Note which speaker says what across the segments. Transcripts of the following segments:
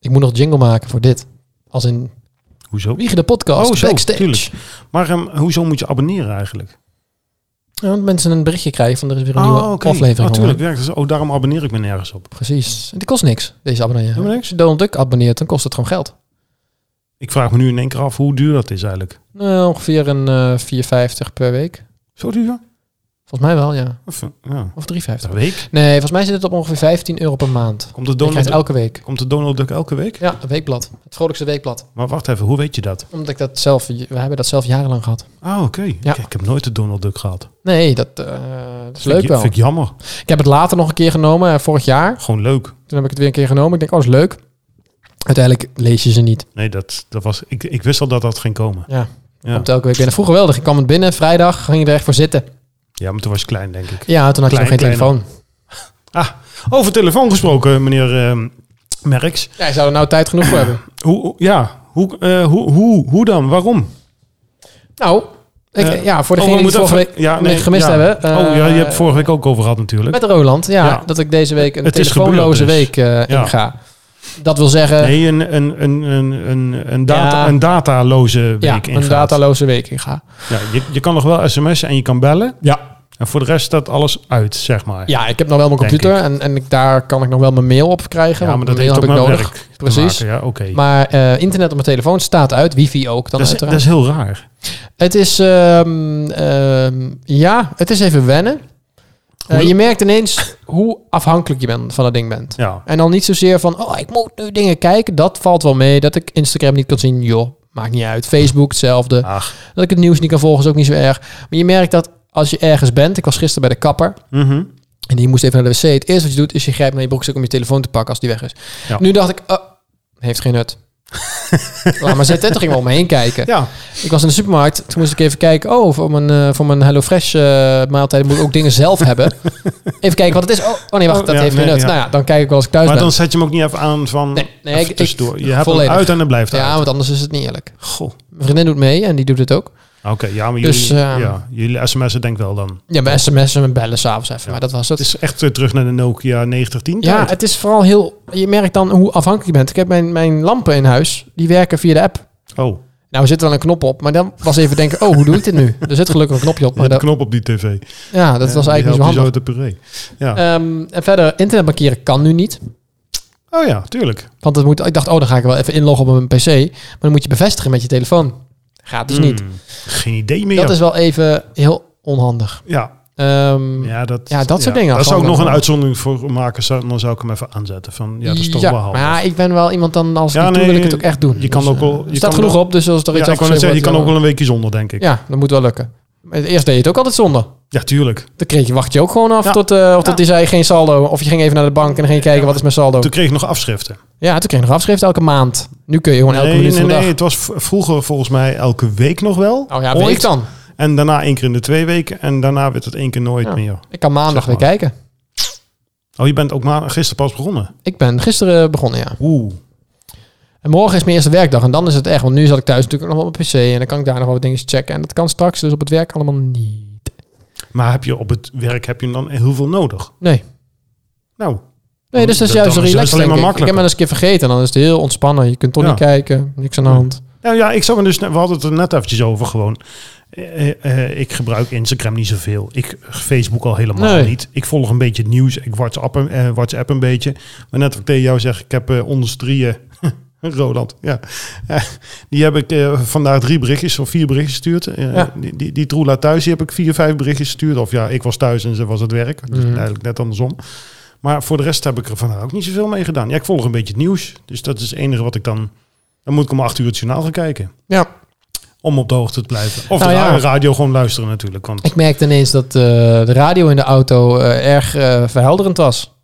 Speaker 1: Ik moet nog jingle maken voor dit. Als in
Speaker 2: Hoezo?
Speaker 1: Wiegen de podcast,
Speaker 2: Oh, zo,
Speaker 1: backstage.
Speaker 2: tuurlijk. Maar ehm, hoezo moet je abonneren eigenlijk?
Speaker 1: Ja, want mensen een berichtje krijgen van er is weer een nieuwe
Speaker 2: Ah, Oh, oké.
Speaker 1: aflevering.
Speaker 2: Natuurlijk,
Speaker 1: online.
Speaker 2: werkt het. zo. Oh, daarom abonneer ik me nergens op.
Speaker 1: Precies. En die kost niks, deze abonnee.
Speaker 2: Helemaal niks?
Speaker 1: Als je Donald Duck abonneert, dan kost het gewoon geld.
Speaker 2: Ik vraag me nu in één keer af hoe duur dat is eigenlijk.
Speaker 1: Nou, ongeveer een eh 4,50 per week.
Speaker 2: Zo duur?
Speaker 1: Volgens mij wel, ja.
Speaker 2: Of, eh, ja.
Speaker 1: Of 3,50.
Speaker 2: Per week?
Speaker 1: Nee, volgens mij zit het op ongeveer 15 euro per maand.
Speaker 2: Komt de,
Speaker 1: Je
Speaker 2: Donald
Speaker 1: krijgt
Speaker 2: Duck,
Speaker 1: elke week.
Speaker 2: komt de Donald Duck elke week?
Speaker 1: Ja, een weekblad. Het vrolijkste weekblad.
Speaker 2: Maar wacht even, hoe weet je dat?
Speaker 1: Omdat ik dat zelf, we hebben dat zelf jarenlang gehad.
Speaker 2: Ah, oké.
Speaker 1: Ja.
Speaker 2: Kijk, ik heb nooit de Donald Duck gehad.
Speaker 1: Nee, dat, eh, dat is
Speaker 2: Vind
Speaker 1: leuk
Speaker 2: ik-
Speaker 1: wel.
Speaker 2: Vind ik jammer.
Speaker 1: Ik heb het later nog een keer genomen, eh, vorig jaar.
Speaker 2: Gewoon leuk.
Speaker 1: Toen heb ik het weer een keer genomen. Ik denk, oh, is leuk. Uiteindelijk lees je ze niet.
Speaker 2: Nee, dat, dat was, ik, ik wist al dat dat ging komen.
Speaker 1: Ja.
Speaker 2: Ja.
Speaker 1: Komt elke week binnen. Vroeger wel, ik kwam het binnen, vrijdag, ging je er echt voor zitten.
Speaker 2: ja, maar toen was ik klein, denk ik.
Speaker 1: Ja, toen had je nog geen
Speaker 2: Klein- kleiner.
Speaker 1: telefoon.
Speaker 2: Over telefoon gesproken, meneer ehm, Merks.
Speaker 1: Ja, je zou er nou tijd genoeg voor hebben.
Speaker 2: Hoe, hoe- ja, hoe, eh, hoe, hoe, hoe dan? Waarom?
Speaker 1: Nou, ik,
Speaker 2: Eh,
Speaker 1: ja, voor
Speaker 2: Oh,
Speaker 1: degenen
Speaker 2: we
Speaker 1: die
Speaker 2: moeten
Speaker 1: vorige
Speaker 2: even-
Speaker 1: week
Speaker 2: ja, nee,
Speaker 1: gemist
Speaker 2: ja.
Speaker 1: hebben.
Speaker 2: oh
Speaker 1: eh,
Speaker 2: ja, je hebt vorige week ook over gehad natuurlijk.
Speaker 1: Met Roland, ja,
Speaker 2: Ja.
Speaker 1: Dat ik deze week een
Speaker 2: Het is
Speaker 1: telefoonloze
Speaker 2: gebeurd dus.
Speaker 1: week eh,
Speaker 2: Ja.
Speaker 1: inga. Dat wil zeggen,
Speaker 2: nee, een, een, een, een, een, een, data,
Speaker 1: eh, Ja.
Speaker 2: een dataloze week
Speaker 1: ja,
Speaker 2: ingaat.
Speaker 1: een dataloze week inga.
Speaker 2: Ja, je, je kan nog wel sms'en en je kan bellen.
Speaker 1: Ja.
Speaker 2: En voor de rest staat alles uit, zeg maar.
Speaker 1: Ja, ik heb nog wel mijn
Speaker 2: Denk
Speaker 1: computer en, en ik, daar kan ik nog wel mijn mail op krijgen.
Speaker 2: Ja,
Speaker 1: want
Speaker 2: maar dat
Speaker 1: mijn
Speaker 2: heeft
Speaker 1: mail
Speaker 2: ook
Speaker 1: heb
Speaker 2: met
Speaker 1: ik nodig.
Speaker 2: werk te
Speaker 1: Precies.
Speaker 2: maken, Ja, oké.
Speaker 1: Maar eh, internet op mijn telefoon staat uit, wifi ook dan
Speaker 2: Dat is, dat
Speaker 1: uiteraard.
Speaker 2: is heel raar.
Speaker 1: Het is, ehm, ehm, ja, het is even wennen. Eh,
Speaker 2: Hoe-
Speaker 1: je merkt ineens hoe afhankelijk je bent van dat ding bent.
Speaker 2: Ja.
Speaker 1: En dan niet zozeer van, oh, ik moet nu dingen kijken. Dat valt wel mee. Dat ik Instagram niet kan zien, joh, maakt niet uit. Facebook hetzelfde.
Speaker 2: Ach.
Speaker 1: Dat ik het nieuws niet kan volgen is ook niet zo erg. Maar je merkt dat als je ergens bent. Ik was gisteren bij de kapper.
Speaker 2: Mhm.
Speaker 1: En die moest even naar de wc. Het eerste wat je doet is je grijpt naar je broekzak om je telefoon te pakken als die weg is.
Speaker 2: Ja.
Speaker 1: Nu dacht ik, oh, heeft geen nut. Laat maar zitten. Toen ging we om me heen kijken.
Speaker 2: Ja.
Speaker 1: Ik was in de supermarkt. Toen moest ik even kijken. Oh, voor mijn, eh, voor mijn HelloFresh eh maaltijd moet ik ook dingen zelf hebben. Even kijken wat het is. Oh, oh nee, wacht.
Speaker 2: Oh,
Speaker 1: Dat
Speaker 2: ja,
Speaker 1: heeft
Speaker 2: nee,
Speaker 1: geen nut.
Speaker 2: ja.
Speaker 1: Nou ja, dan kijk ik wel als ik thuis
Speaker 2: Maar
Speaker 1: ben.
Speaker 2: dan zet je hem ook niet even aan van
Speaker 1: Nee, nee,
Speaker 2: even
Speaker 1: ik- ik-
Speaker 2: tussendoor. Je hebt
Speaker 1: volledig.
Speaker 2: hem uit en dan blijft hij
Speaker 1: Ja,
Speaker 2: uit.
Speaker 1: want anders is het niet eerlijk.
Speaker 2: Goh.
Speaker 1: Mijn vriendin doet mee en die doet het ook.
Speaker 2: Oké, ja, maar jullie,
Speaker 1: Dus, eh,
Speaker 2: ja, jullie sms'en denk wel dan.
Speaker 1: Ja, bij sms'en en bellen s'avonds even. Maar dat was
Speaker 2: Het
Speaker 1: het.
Speaker 2: is echt weer terug naar de Nokia 9010
Speaker 1: Ja,
Speaker 2: tijd.
Speaker 1: het is vooral heel... Je merkt dan hoe afhankelijk je bent. Ik heb mijn, mijn lampen in huis. Die werken via de app.
Speaker 2: Oh,
Speaker 1: Nou, er zit wel een knop op. Maar dan was even denken, oh, hoe doe ik dit nu? Er zit gelukkig een knopje op.
Speaker 2: je
Speaker 1: Maar
Speaker 2: hebt een
Speaker 1: dat,
Speaker 2: knop op die tv.
Speaker 1: ja, dat was eigenlijk niet zo handig.
Speaker 2: Zo te puree. Ja.
Speaker 1: Ehm, en verder, internetbankieren kan nu niet. Eh.
Speaker 2: oh ja, tuurlijk.
Speaker 1: Want het moet, ik dacht, oh, dan ga ik wel even inloggen op mijn PC. Maar dan moet je bevestigen met je telefoon. Gaat dus niet.
Speaker 2: Hmm, Geen idee meer.
Speaker 1: Dat is wel even heel onhandig.
Speaker 2: ja,
Speaker 1: Ehm,
Speaker 2: ja, dat,
Speaker 1: Ja, dat soort dingen.
Speaker 2: Daar zou ik
Speaker 1: Gewoon
Speaker 2: nog een
Speaker 1: wel.
Speaker 2: uitzondering voor maken. Zou, dan zou ik hem even aanzetten. Van, ja, dat is toch
Speaker 1: Ja,
Speaker 2: wel handig.
Speaker 1: Maar ja, ik ben wel iemand dan, als ik
Speaker 2: Ja,
Speaker 1: het doe, wil
Speaker 2: nee,
Speaker 1: ik het ook echt doen.
Speaker 2: je kan ook
Speaker 1: eh,
Speaker 2: wel- je
Speaker 1: er staat
Speaker 2: kan
Speaker 1: genoeg
Speaker 2: wel-
Speaker 1: op, dus als er iets
Speaker 2: Ja, ik kan net
Speaker 1: afgeschreven
Speaker 2: zeggen, je kan ook
Speaker 1: wordt,
Speaker 2: wel een weekje zonder, denk ik. Ja,
Speaker 1: dan- Ja, dat moet wel lukken. Maar Eerst deed je het ook altijd zonder.
Speaker 2: tuurlijk.
Speaker 1: Dan kreeg je, wacht je ook gewoon af
Speaker 2: Ja.
Speaker 1: tot, eh, of
Speaker 2: Ja.
Speaker 1: tot die zei geen saldo. Of je ging even naar de bank en dan ging je kijken, wat is mijn saldo?
Speaker 2: Toen kreeg ik nog afschriften.
Speaker 1: Ja, toen kreeg je nog afschrift elke maand. Nu kun je gewoon elke
Speaker 2: nee,
Speaker 1: minuut
Speaker 2: nee,
Speaker 1: van de
Speaker 2: nee.
Speaker 1: dag.
Speaker 2: Het was v- vroeger volgens mij elke week nog wel.
Speaker 1: Oh ja,
Speaker 2: Ooit.
Speaker 1: weet ik dan.
Speaker 2: En daarna één keer in de twee weken. En daarna werd het één keer nooit
Speaker 1: Ja.
Speaker 2: meer.
Speaker 1: Ik kan maandag
Speaker 2: Zeg
Speaker 1: weer
Speaker 2: maar.
Speaker 1: kijken.
Speaker 2: Oh, je bent ook maandag gisteren pas begonnen.
Speaker 1: Ik ben gisteren begonnen, ja.
Speaker 2: Oeh.
Speaker 1: En morgen is mijn eerste werkdag en dan is het echt. Want nu zat ik thuis natuurlijk nog wel op mijn pc en dan kan ik daar nog wel wat dingen checken. En dat kan straks dus op het werk allemaal niet.
Speaker 2: Maar heb je op het werk heb je hem dan heel veel nodig?
Speaker 1: Nee.
Speaker 2: Nou,
Speaker 1: Nee, dus dat is
Speaker 2: Dan
Speaker 1: juist
Speaker 2: is
Speaker 1: een
Speaker 2: het
Speaker 1: relax.
Speaker 2: alleen
Speaker 1: denk
Speaker 2: maar
Speaker 1: ik. ik heb
Speaker 2: makkelijker.
Speaker 1: hem eens een keer vergeten. en Dan is het heel ontspannen. Je kunt toch
Speaker 2: Ja.
Speaker 1: niet kijken. Niks aan de
Speaker 2: Ja.
Speaker 1: hand.
Speaker 2: nou ja, ik zou me dus. net- We hadden het er net eventjes over gewoon. Eh, eh, eh, ik gebruik Instagram niet zoveel. Ik Facebook al helemaal
Speaker 1: Nee.
Speaker 2: niet. Ik volg een beetje het nieuws. Ik WhatsApp, een- eh, WhatsApp een beetje. Maar net wat ik tegen jou zeg, ik heb eh onder z'n drieën. Roland, ja. Eh, die heb ik eh, vandaag drie berichtjes of vier berichtjes gestuurd. Eh,
Speaker 1: Ja.
Speaker 2: Die, die, die troela thuis, die heb ik vier, vijf berichtjes gestuurd. Of ja, ik was thuis en ze was het werk. Dus
Speaker 1: Mhm.
Speaker 2: eigenlijk net andersom. Maar voor de rest heb ik er vandaag ook niet zoveel mee gedaan. Ja, ik volg een beetje het nieuws. Dus dat is het enige wat ik dan... Dan moet ik om acht uur het journaal gaan kijken.
Speaker 1: Ja.
Speaker 2: Om op de hoogte te blijven. Of
Speaker 1: Nou
Speaker 2: de
Speaker 1: ja.
Speaker 2: radio gewoon luisteren natuurlijk. Want
Speaker 1: Ik merkte ineens dat eh, de radio in de auto eh, erg eh, verhelderend was.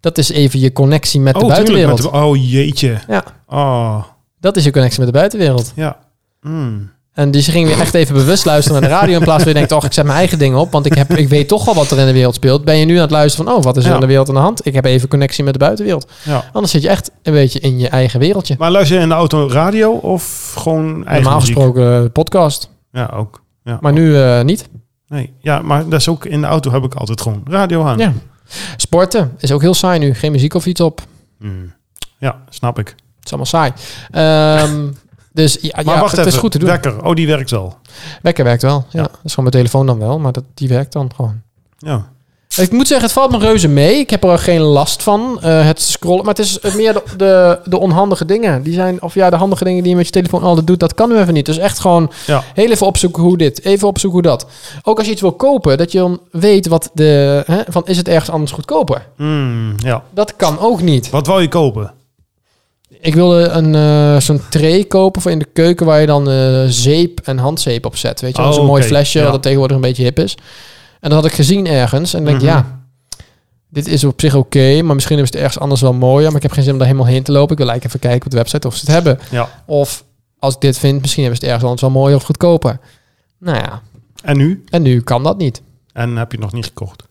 Speaker 1: Dat is even je connectie met de
Speaker 2: tuurlijk,
Speaker 1: buitenwereld.
Speaker 2: met de- oh, jeetje.
Speaker 1: Ja.
Speaker 2: Oh,
Speaker 1: Dat is je connectie met de buitenwereld.
Speaker 2: ja. Mm.
Speaker 1: En dus je ging weer echt even bewust luisteren naar de radio. In plaats van je denkt, oh, ik zet mijn eigen dingen op. Want ik, heb, ik weet toch al wat er in de wereld speelt. Ben je nu aan het luisteren van, oh, wat is er
Speaker 2: Ja.
Speaker 1: in de wereld aan de hand? Ik heb even connectie met de buitenwereld.
Speaker 2: Ja.
Speaker 1: Anders zit je echt een beetje in je eigen wereldje.
Speaker 2: Maar luister je in de auto radio of gewoon eigen
Speaker 1: Normaal
Speaker 2: muziek?
Speaker 1: gesproken eh, podcast.
Speaker 2: Ja, ook. Ja.
Speaker 1: Maar nu eh, niet.
Speaker 2: Nee, ja, maar dat is ook in de auto heb ik altijd gewoon radio aan.
Speaker 1: Ja. Sporten is ook heel saai nu. Geen muziek of iets op.
Speaker 2: Hmm. Mm. Ja, snap ik.
Speaker 1: Het is allemaal saai. Ehm, dus ja, Ah,
Speaker 2: Maar
Speaker 1: ja,
Speaker 2: wacht
Speaker 1: het
Speaker 2: even,
Speaker 1: is goed te doen.
Speaker 2: wekker. Oh, die werkt al.
Speaker 1: Wekker werkt wel. Ja.
Speaker 2: Ja.
Speaker 1: Dat is gewoon mijn telefoon dan wel, maar dat, die werkt dan gewoon.
Speaker 2: Ja.
Speaker 1: Ik moet zeggen, het valt me reuze mee. Ik heb er geen last van. eh, het scrollen. Maar het is eh, meer de, de, de onhandige dingen. Die zijn, of ja, de handige dingen die je met je telefoon altijd doet, dat kan nu even niet. Dus echt gewoon
Speaker 2: Ja.
Speaker 1: heel even opzoeken hoe dit, even opzoeken hoe dat. Ook als je iets wil kopen, dat je dan weet wat de. Hè, van is het ergens anders goedkoper?
Speaker 2: Mm, ja.
Speaker 1: Dat kan ook niet.
Speaker 2: Wat wou je kopen?
Speaker 1: Ik wilde een, eh, zo'n tray kopen voor in de keuken waar je dan eh, zeep en handzeep op zet. Weet je, wel?
Speaker 2: Oh,
Speaker 1: zo'n mooi
Speaker 2: oké,
Speaker 1: flesje
Speaker 2: ja.
Speaker 1: dat tegenwoordig een beetje hip is. En dat had ik gezien ergens. En ik denk,
Speaker 2: Mhm.
Speaker 1: ja, dit is op zich oké, maar misschien is het ergens anders wel mooier. Maar ik heb geen zin om daar helemaal heen te lopen. Ik wil eigenlijk even kijken op de website of ze het hebben.
Speaker 2: Ja.
Speaker 1: Of als ik dit vind, misschien hebben ze het ergens anders wel mooier of goedkoper. Nou ja,
Speaker 2: En nu?
Speaker 1: en nu kan dat niet.
Speaker 2: En heb je nog niet gekocht?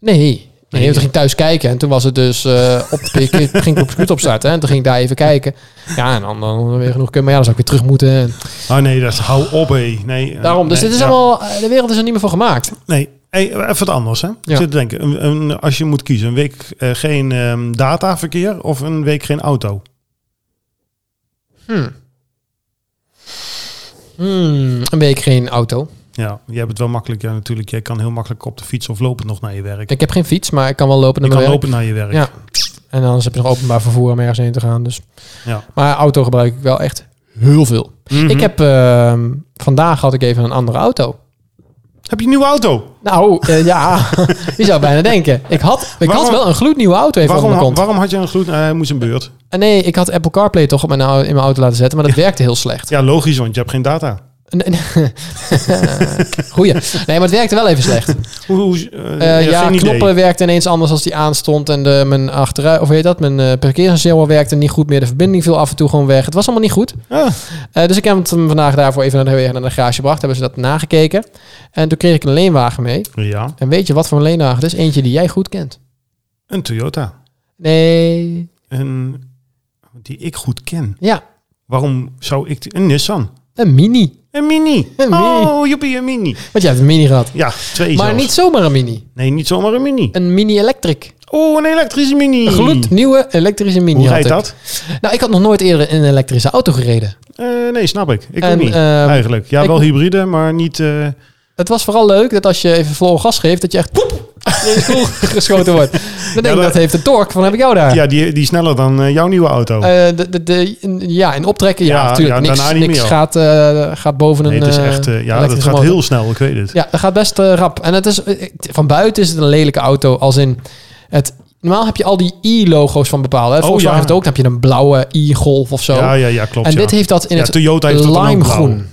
Speaker 1: Nee. Nee, want toen ging ik thuis kijken en toen was het dus eh, op ik ging ik op de computer opstarten en toen ging ik daar even kijken. Ja, en dan, dan weer genoeg kunnen, maar ja, dan zou ik weer terug moeten. En
Speaker 2: Oh nee, dat is hou op hé. Nee, eh,
Speaker 1: Daarom, dus
Speaker 2: nee,
Speaker 1: dit is
Speaker 2: ja.
Speaker 1: allemaal, eh, de wereld is er niet meer voor gemaakt.
Speaker 2: Nee, hey, even wat anders hè.
Speaker 1: Ja.
Speaker 2: Ik zit te denken, een, een- als je moet kiezen, een week eh, geen ehm, dataverkeer of een week geen auto?
Speaker 1: Hmm. Hmm, een week geen auto.
Speaker 2: Ja, je hebt het wel makkelijk ja, natuurlijk. Jij kan heel makkelijk op de fiets of lopen nog naar je werk.
Speaker 1: Ik heb geen fiets, maar ik kan wel lopen
Speaker 2: je
Speaker 1: naar
Speaker 2: kan
Speaker 1: mijn werk.
Speaker 2: lopen naar je werk.
Speaker 1: Ja. En anders heb je nog openbaar vervoer om ergens heen te gaan. Dus.
Speaker 2: Ja.
Speaker 1: Maar auto gebruik ik wel echt heel veel.
Speaker 2: Mhm.
Speaker 1: Ik heb, ehm, vandaag had ik even een andere auto.
Speaker 2: Heb je een nieuwe auto?
Speaker 1: Nou, eh, ja, je zou bijna denken. Ik had, ik had
Speaker 2: Waarom-
Speaker 1: wel een gloednieuwe auto even op
Speaker 2: Waarom,
Speaker 1: mijn
Speaker 2: ha-
Speaker 1: kont.
Speaker 2: waarom had je een gloed? eh, hij moest een beurt.
Speaker 1: Eh, nee, ik had Apple CarPlay toch op mijn, au- in mijn auto laten zetten, maar dat werkte heel slecht.
Speaker 2: Ja, logisch, want je hebt geen data.
Speaker 1: Nee, nee. Goeie. Nee, maar het werkte wel even slecht.
Speaker 2: Hoe, hoe, eh,
Speaker 1: Eh, ja,
Speaker 2: geen idee.
Speaker 1: knoppen werkten ineens anders als die aanstond. En de, mijn achteruit, of hoe heet dat, mijn eh parkeersensator werkte niet goed meer. De verbinding viel af en toe gewoon weg. Het was allemaal niet goed.
Speaker 2: Ah,
Speaker 1: Eh, dus ik heb het hem vandaag daarvoor even naar de, naar de garage gebracht. Hebben ze dat nagekeken. En toen kreeg ik een leenwagen mee.
Speaker 2: ja,
Speaker 1: En weet je wat voor een leenwagen het is? Eentje die jij goed kent.
Speaker 2: een Toyota.
Speaker 1: Nee.
Speaker 2: Een, die ik goed ken.
Speaker 1: Ja,
Speaker 2: Waarom zou ik... die- Een Nissan.
Speaker 1: een mini.
Speaker 2: Een Mini.
Speaker 1: Een Mini.
Speaker 2: Oh, joepie, een Mini.
Speaker 1: Want jij hebt een mini gehad.
Speaker 2: Ja, twee
Speaker 1: Maar
Speaker 2: zelfs.
Speaker 1: niet zomaar een mini.
Speaker 2: Nee, niet zomaar een Mini.
Speaker 1: Een mini electric.
Speaker 2: Oh, een elektrische Mini.
Speaker 1: Een gloednieuwe elektrische mini
Speaker 2: Hoe
Speaker 1: had
Speaker 2: rijdt
Speaker 1: ik.
Speaker 2: dat?
Speaker 1: Nou, ik had nog nooit eerder in een elektrische auto gereden.
Speaker 2: Eh, nee, snap ik. Ik
Speaker 1: En,
Speaker 2: ook niet,
Speaker 1: ehm,
Speaker 2: eigenlijk. Ja,
Speaker 1: ik-
Speaker 2: wel hybride, maar niet... eh,
Speaker 1: Het was vooral leuk dat als je even vol gas geeft, dat je echt poep in de stoel geschoten wordt. Dan denk ik,
Speaker 2: dat-
Speaker 1: dat heeft een torque, van heb ik jou daar.
Speaker 2: ja, die, die is sneller dan eh, jouw nieuwe auto.
Speaker 1: Eh, de, de, de, ja, in optrekken, ja,
Speaker 2: Ja,
Speaker 1: natuurlijk.
Speaker 2: ja,
Speaker 1: niks
Speaker 2: daarna niet
Speaker 1: niks
Speaker 2: meer.
Speaker 1: gaat, eh, gaat boven
Speaker 2: nee,
Speaker 1: een
Speaker 2: het is
Speaker 1: eh,
Speaker 2: echt... eh, ja, dat
Speaker 1: elektrische
Speaker 2: gaat
Speaker 1: motor.
Speaker 2: heel snel, ik weet het.
Speaker 1: Ja, dat gaat best eh, rap. En het is, eh, eh, van buiten is het een lelijke auto, als in... Het, normaal heb je al die i-logo's van bepaalde. Hè?
Speaker 2: Oh,
Speaker 1: Volkswagen
Speaker 2: ja.
Speaker 1: heeft ook, dan heb je een blauwe i-golf of zo.
Speaker 2: Ja, ja, ja, klopt.
Speaker 1: en
Speaker 2: ja.
Speaker 1: dit heeft dat in
Speaker 2: Ja,
Speaker 1: het
Speaker 2: Toyota heeft dat dan ook
Speaker 1: limegroen.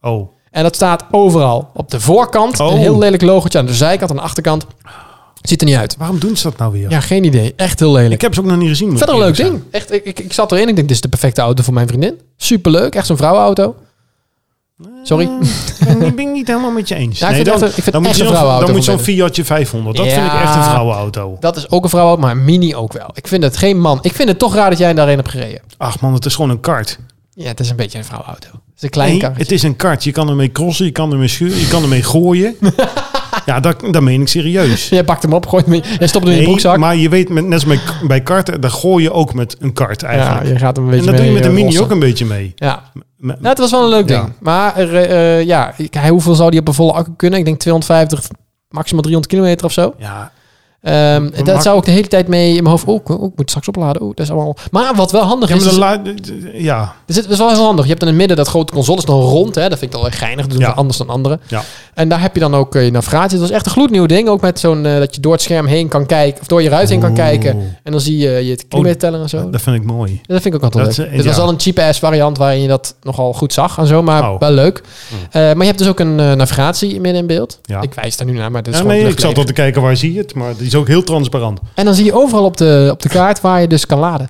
Speaker 2: blauw. Oh,
Speaker 1: En dat staat overal. Op de voorkant
Speaker 2: Oh.
Speaker 1: een heel lelijk logotje. Aan de zijkant, aan de achterkant. Ziet er niet uit.
Speaker 2: waarom doen ze dat nou weer?
Speaker 1: Ja, geen idee. Echt heel lelijk.
Speaker 2: Ik heb ze ook nog niet gezien. moet
Speaker 1: Verder een
Speaker 2: ik
Speaker 1: leuk
Speaker 2: eerlijk
Speaker 1: ding. Echt, ik, ik, ik zat erin. Ik denk, dit is de perfecte auto voor mijn vriendin. Superleuk. Echt zo'n vrouwenauto.
Speaker 2: zeggen.
Speaker 1: Sorry.
Speaker 2: Eh, ik ben- ik ben ik niet helemaal met je eens.
Speaker 1: Ja, ik vind
Speaker 2: dan,
Speaker 1: het echt een- ik vind
Speaker 2: dan
Speaker 1: echt
Speaker 2: moet je
Speaker 1: een
Speaker 2: zo'n-
Speaker 1: vrouwenauto
Speaker 2: Dan moet
Speaker 1: voor
Speaker 2: zo'n Fiatje 500. Dat
Speaker 1: Ja.
Speaker 2: vind ik echt een vrouwenauto.
Speaker 1: Dat is ook een vrouwenauto, maar een mini ook wel. Ik vind het geen man. Ik vind het toch raar dat jij daarin hebt gereden.
Speaker 2: Ach man, het is gewoon een kart.
Speaker 1: Ja, het is een beetje een vrouwenauto. Het is een klein
Speaker 2: Nee,
Speaker 1: karretje.
Speaker 2: het is een kart. Je kan ermee crossen, je kan ermee schuren, je kan ermee gooien. ja, dat, dat meen ik serieus.
Speaker 1: Jij pakt hem op, gooit hem in, jij stopt hem in je
Speaker 2: Nee,
Speaker 1: broekzak.
Speaker 2: maar je weet, met, net als bij, bij karten, daar gooi je ook met een kart
Speaker 1: ja,
Speaker 2: eigenlijk.
Speaker 1: je gaat hem een
Speaker 2: en
Speaker 1: beetje
Speaker 2: dat doe je
Speaker 1: mee,
Speaker 2: met een
Speaker 1: eh,
Speaker 2: mini
Speaker 1: rossen.
Speaker 2: ook een beetje mee.
Speaker 1: Ja,
Speaker 2: Me-
Speaker 1: Nou, het was wel een leuk
Speaker 2: Ja.
Speaker 1: ding. Maar er, eh, eh, ja, ik- hij- hoeveel zou die op een volle accu kunnen? Ik denk 250, maximaal 300 kilometer of zo.
Speaker 2: ja,
Speaker 1: Ehm, dat
Speaker 2: mak-
Speaker 1: zou ik de hele tijd mee in mijn hoofd... Oh, ik, oh, ik moet straks opladen. Oh, dat is allemaal... Maar wat wel handig
Speaker 2: ja,
Speaker 1: is...
Speaker 2: maar
Speaker 1: is
Speaker 2: de la- ja,
Speaker 1: er zit- dat is wel heel handig. Je hebt in het midden dat grote console. is dan rond, hè. Dat vind ik dan wel geinig. Dat doen
Speaker 2: Ja.
Speaker 1: we anders dan anderen.
Speaker 2: Ja.
Speaker 1: En daar heb je dan ook eh, je navigatie. Het was echt een gloednieuw ding. Ook met zo'n... eh, dat je door het scherm heen kan kijken. Of door je ruit heen kan
Speaker 2: Oeh. Oh, eh,
Speaker 1: kijken. En dan zie je je kilometer teller en zo.
Speaker 2: dat vind ik mooi.
Speaker 1: Ja, Dat vind ik ook altijd
Speaker 2: Dat,
Speaker 1: leuk.
Speaker 2: eh,
Speaker 1: Dit was
Speaker 2: ja.
Speaker 1: al een cheap-ass variant waarin je dat nogal goed zag en zo, maar
Speaker 2: Oh.
Speaker 1: wel leuk. Eh, maar je hebt dus ook een eh, navigatie midden in beeld.
Speaker 2: Ja.
Speaker 1: Ik wijs daar nu naar, maar dat is
Speaker 2: Ja,
Speaker 1: gewoon
Speaker 2: nee, ik zat
Speaker 1: luchtleeg.
Speaker 2: al te kijken waar zie je het, maar die is ook heel transparant.
Speaker 1: En dan zie je overal op de, op de kaart waar je dus kan laden.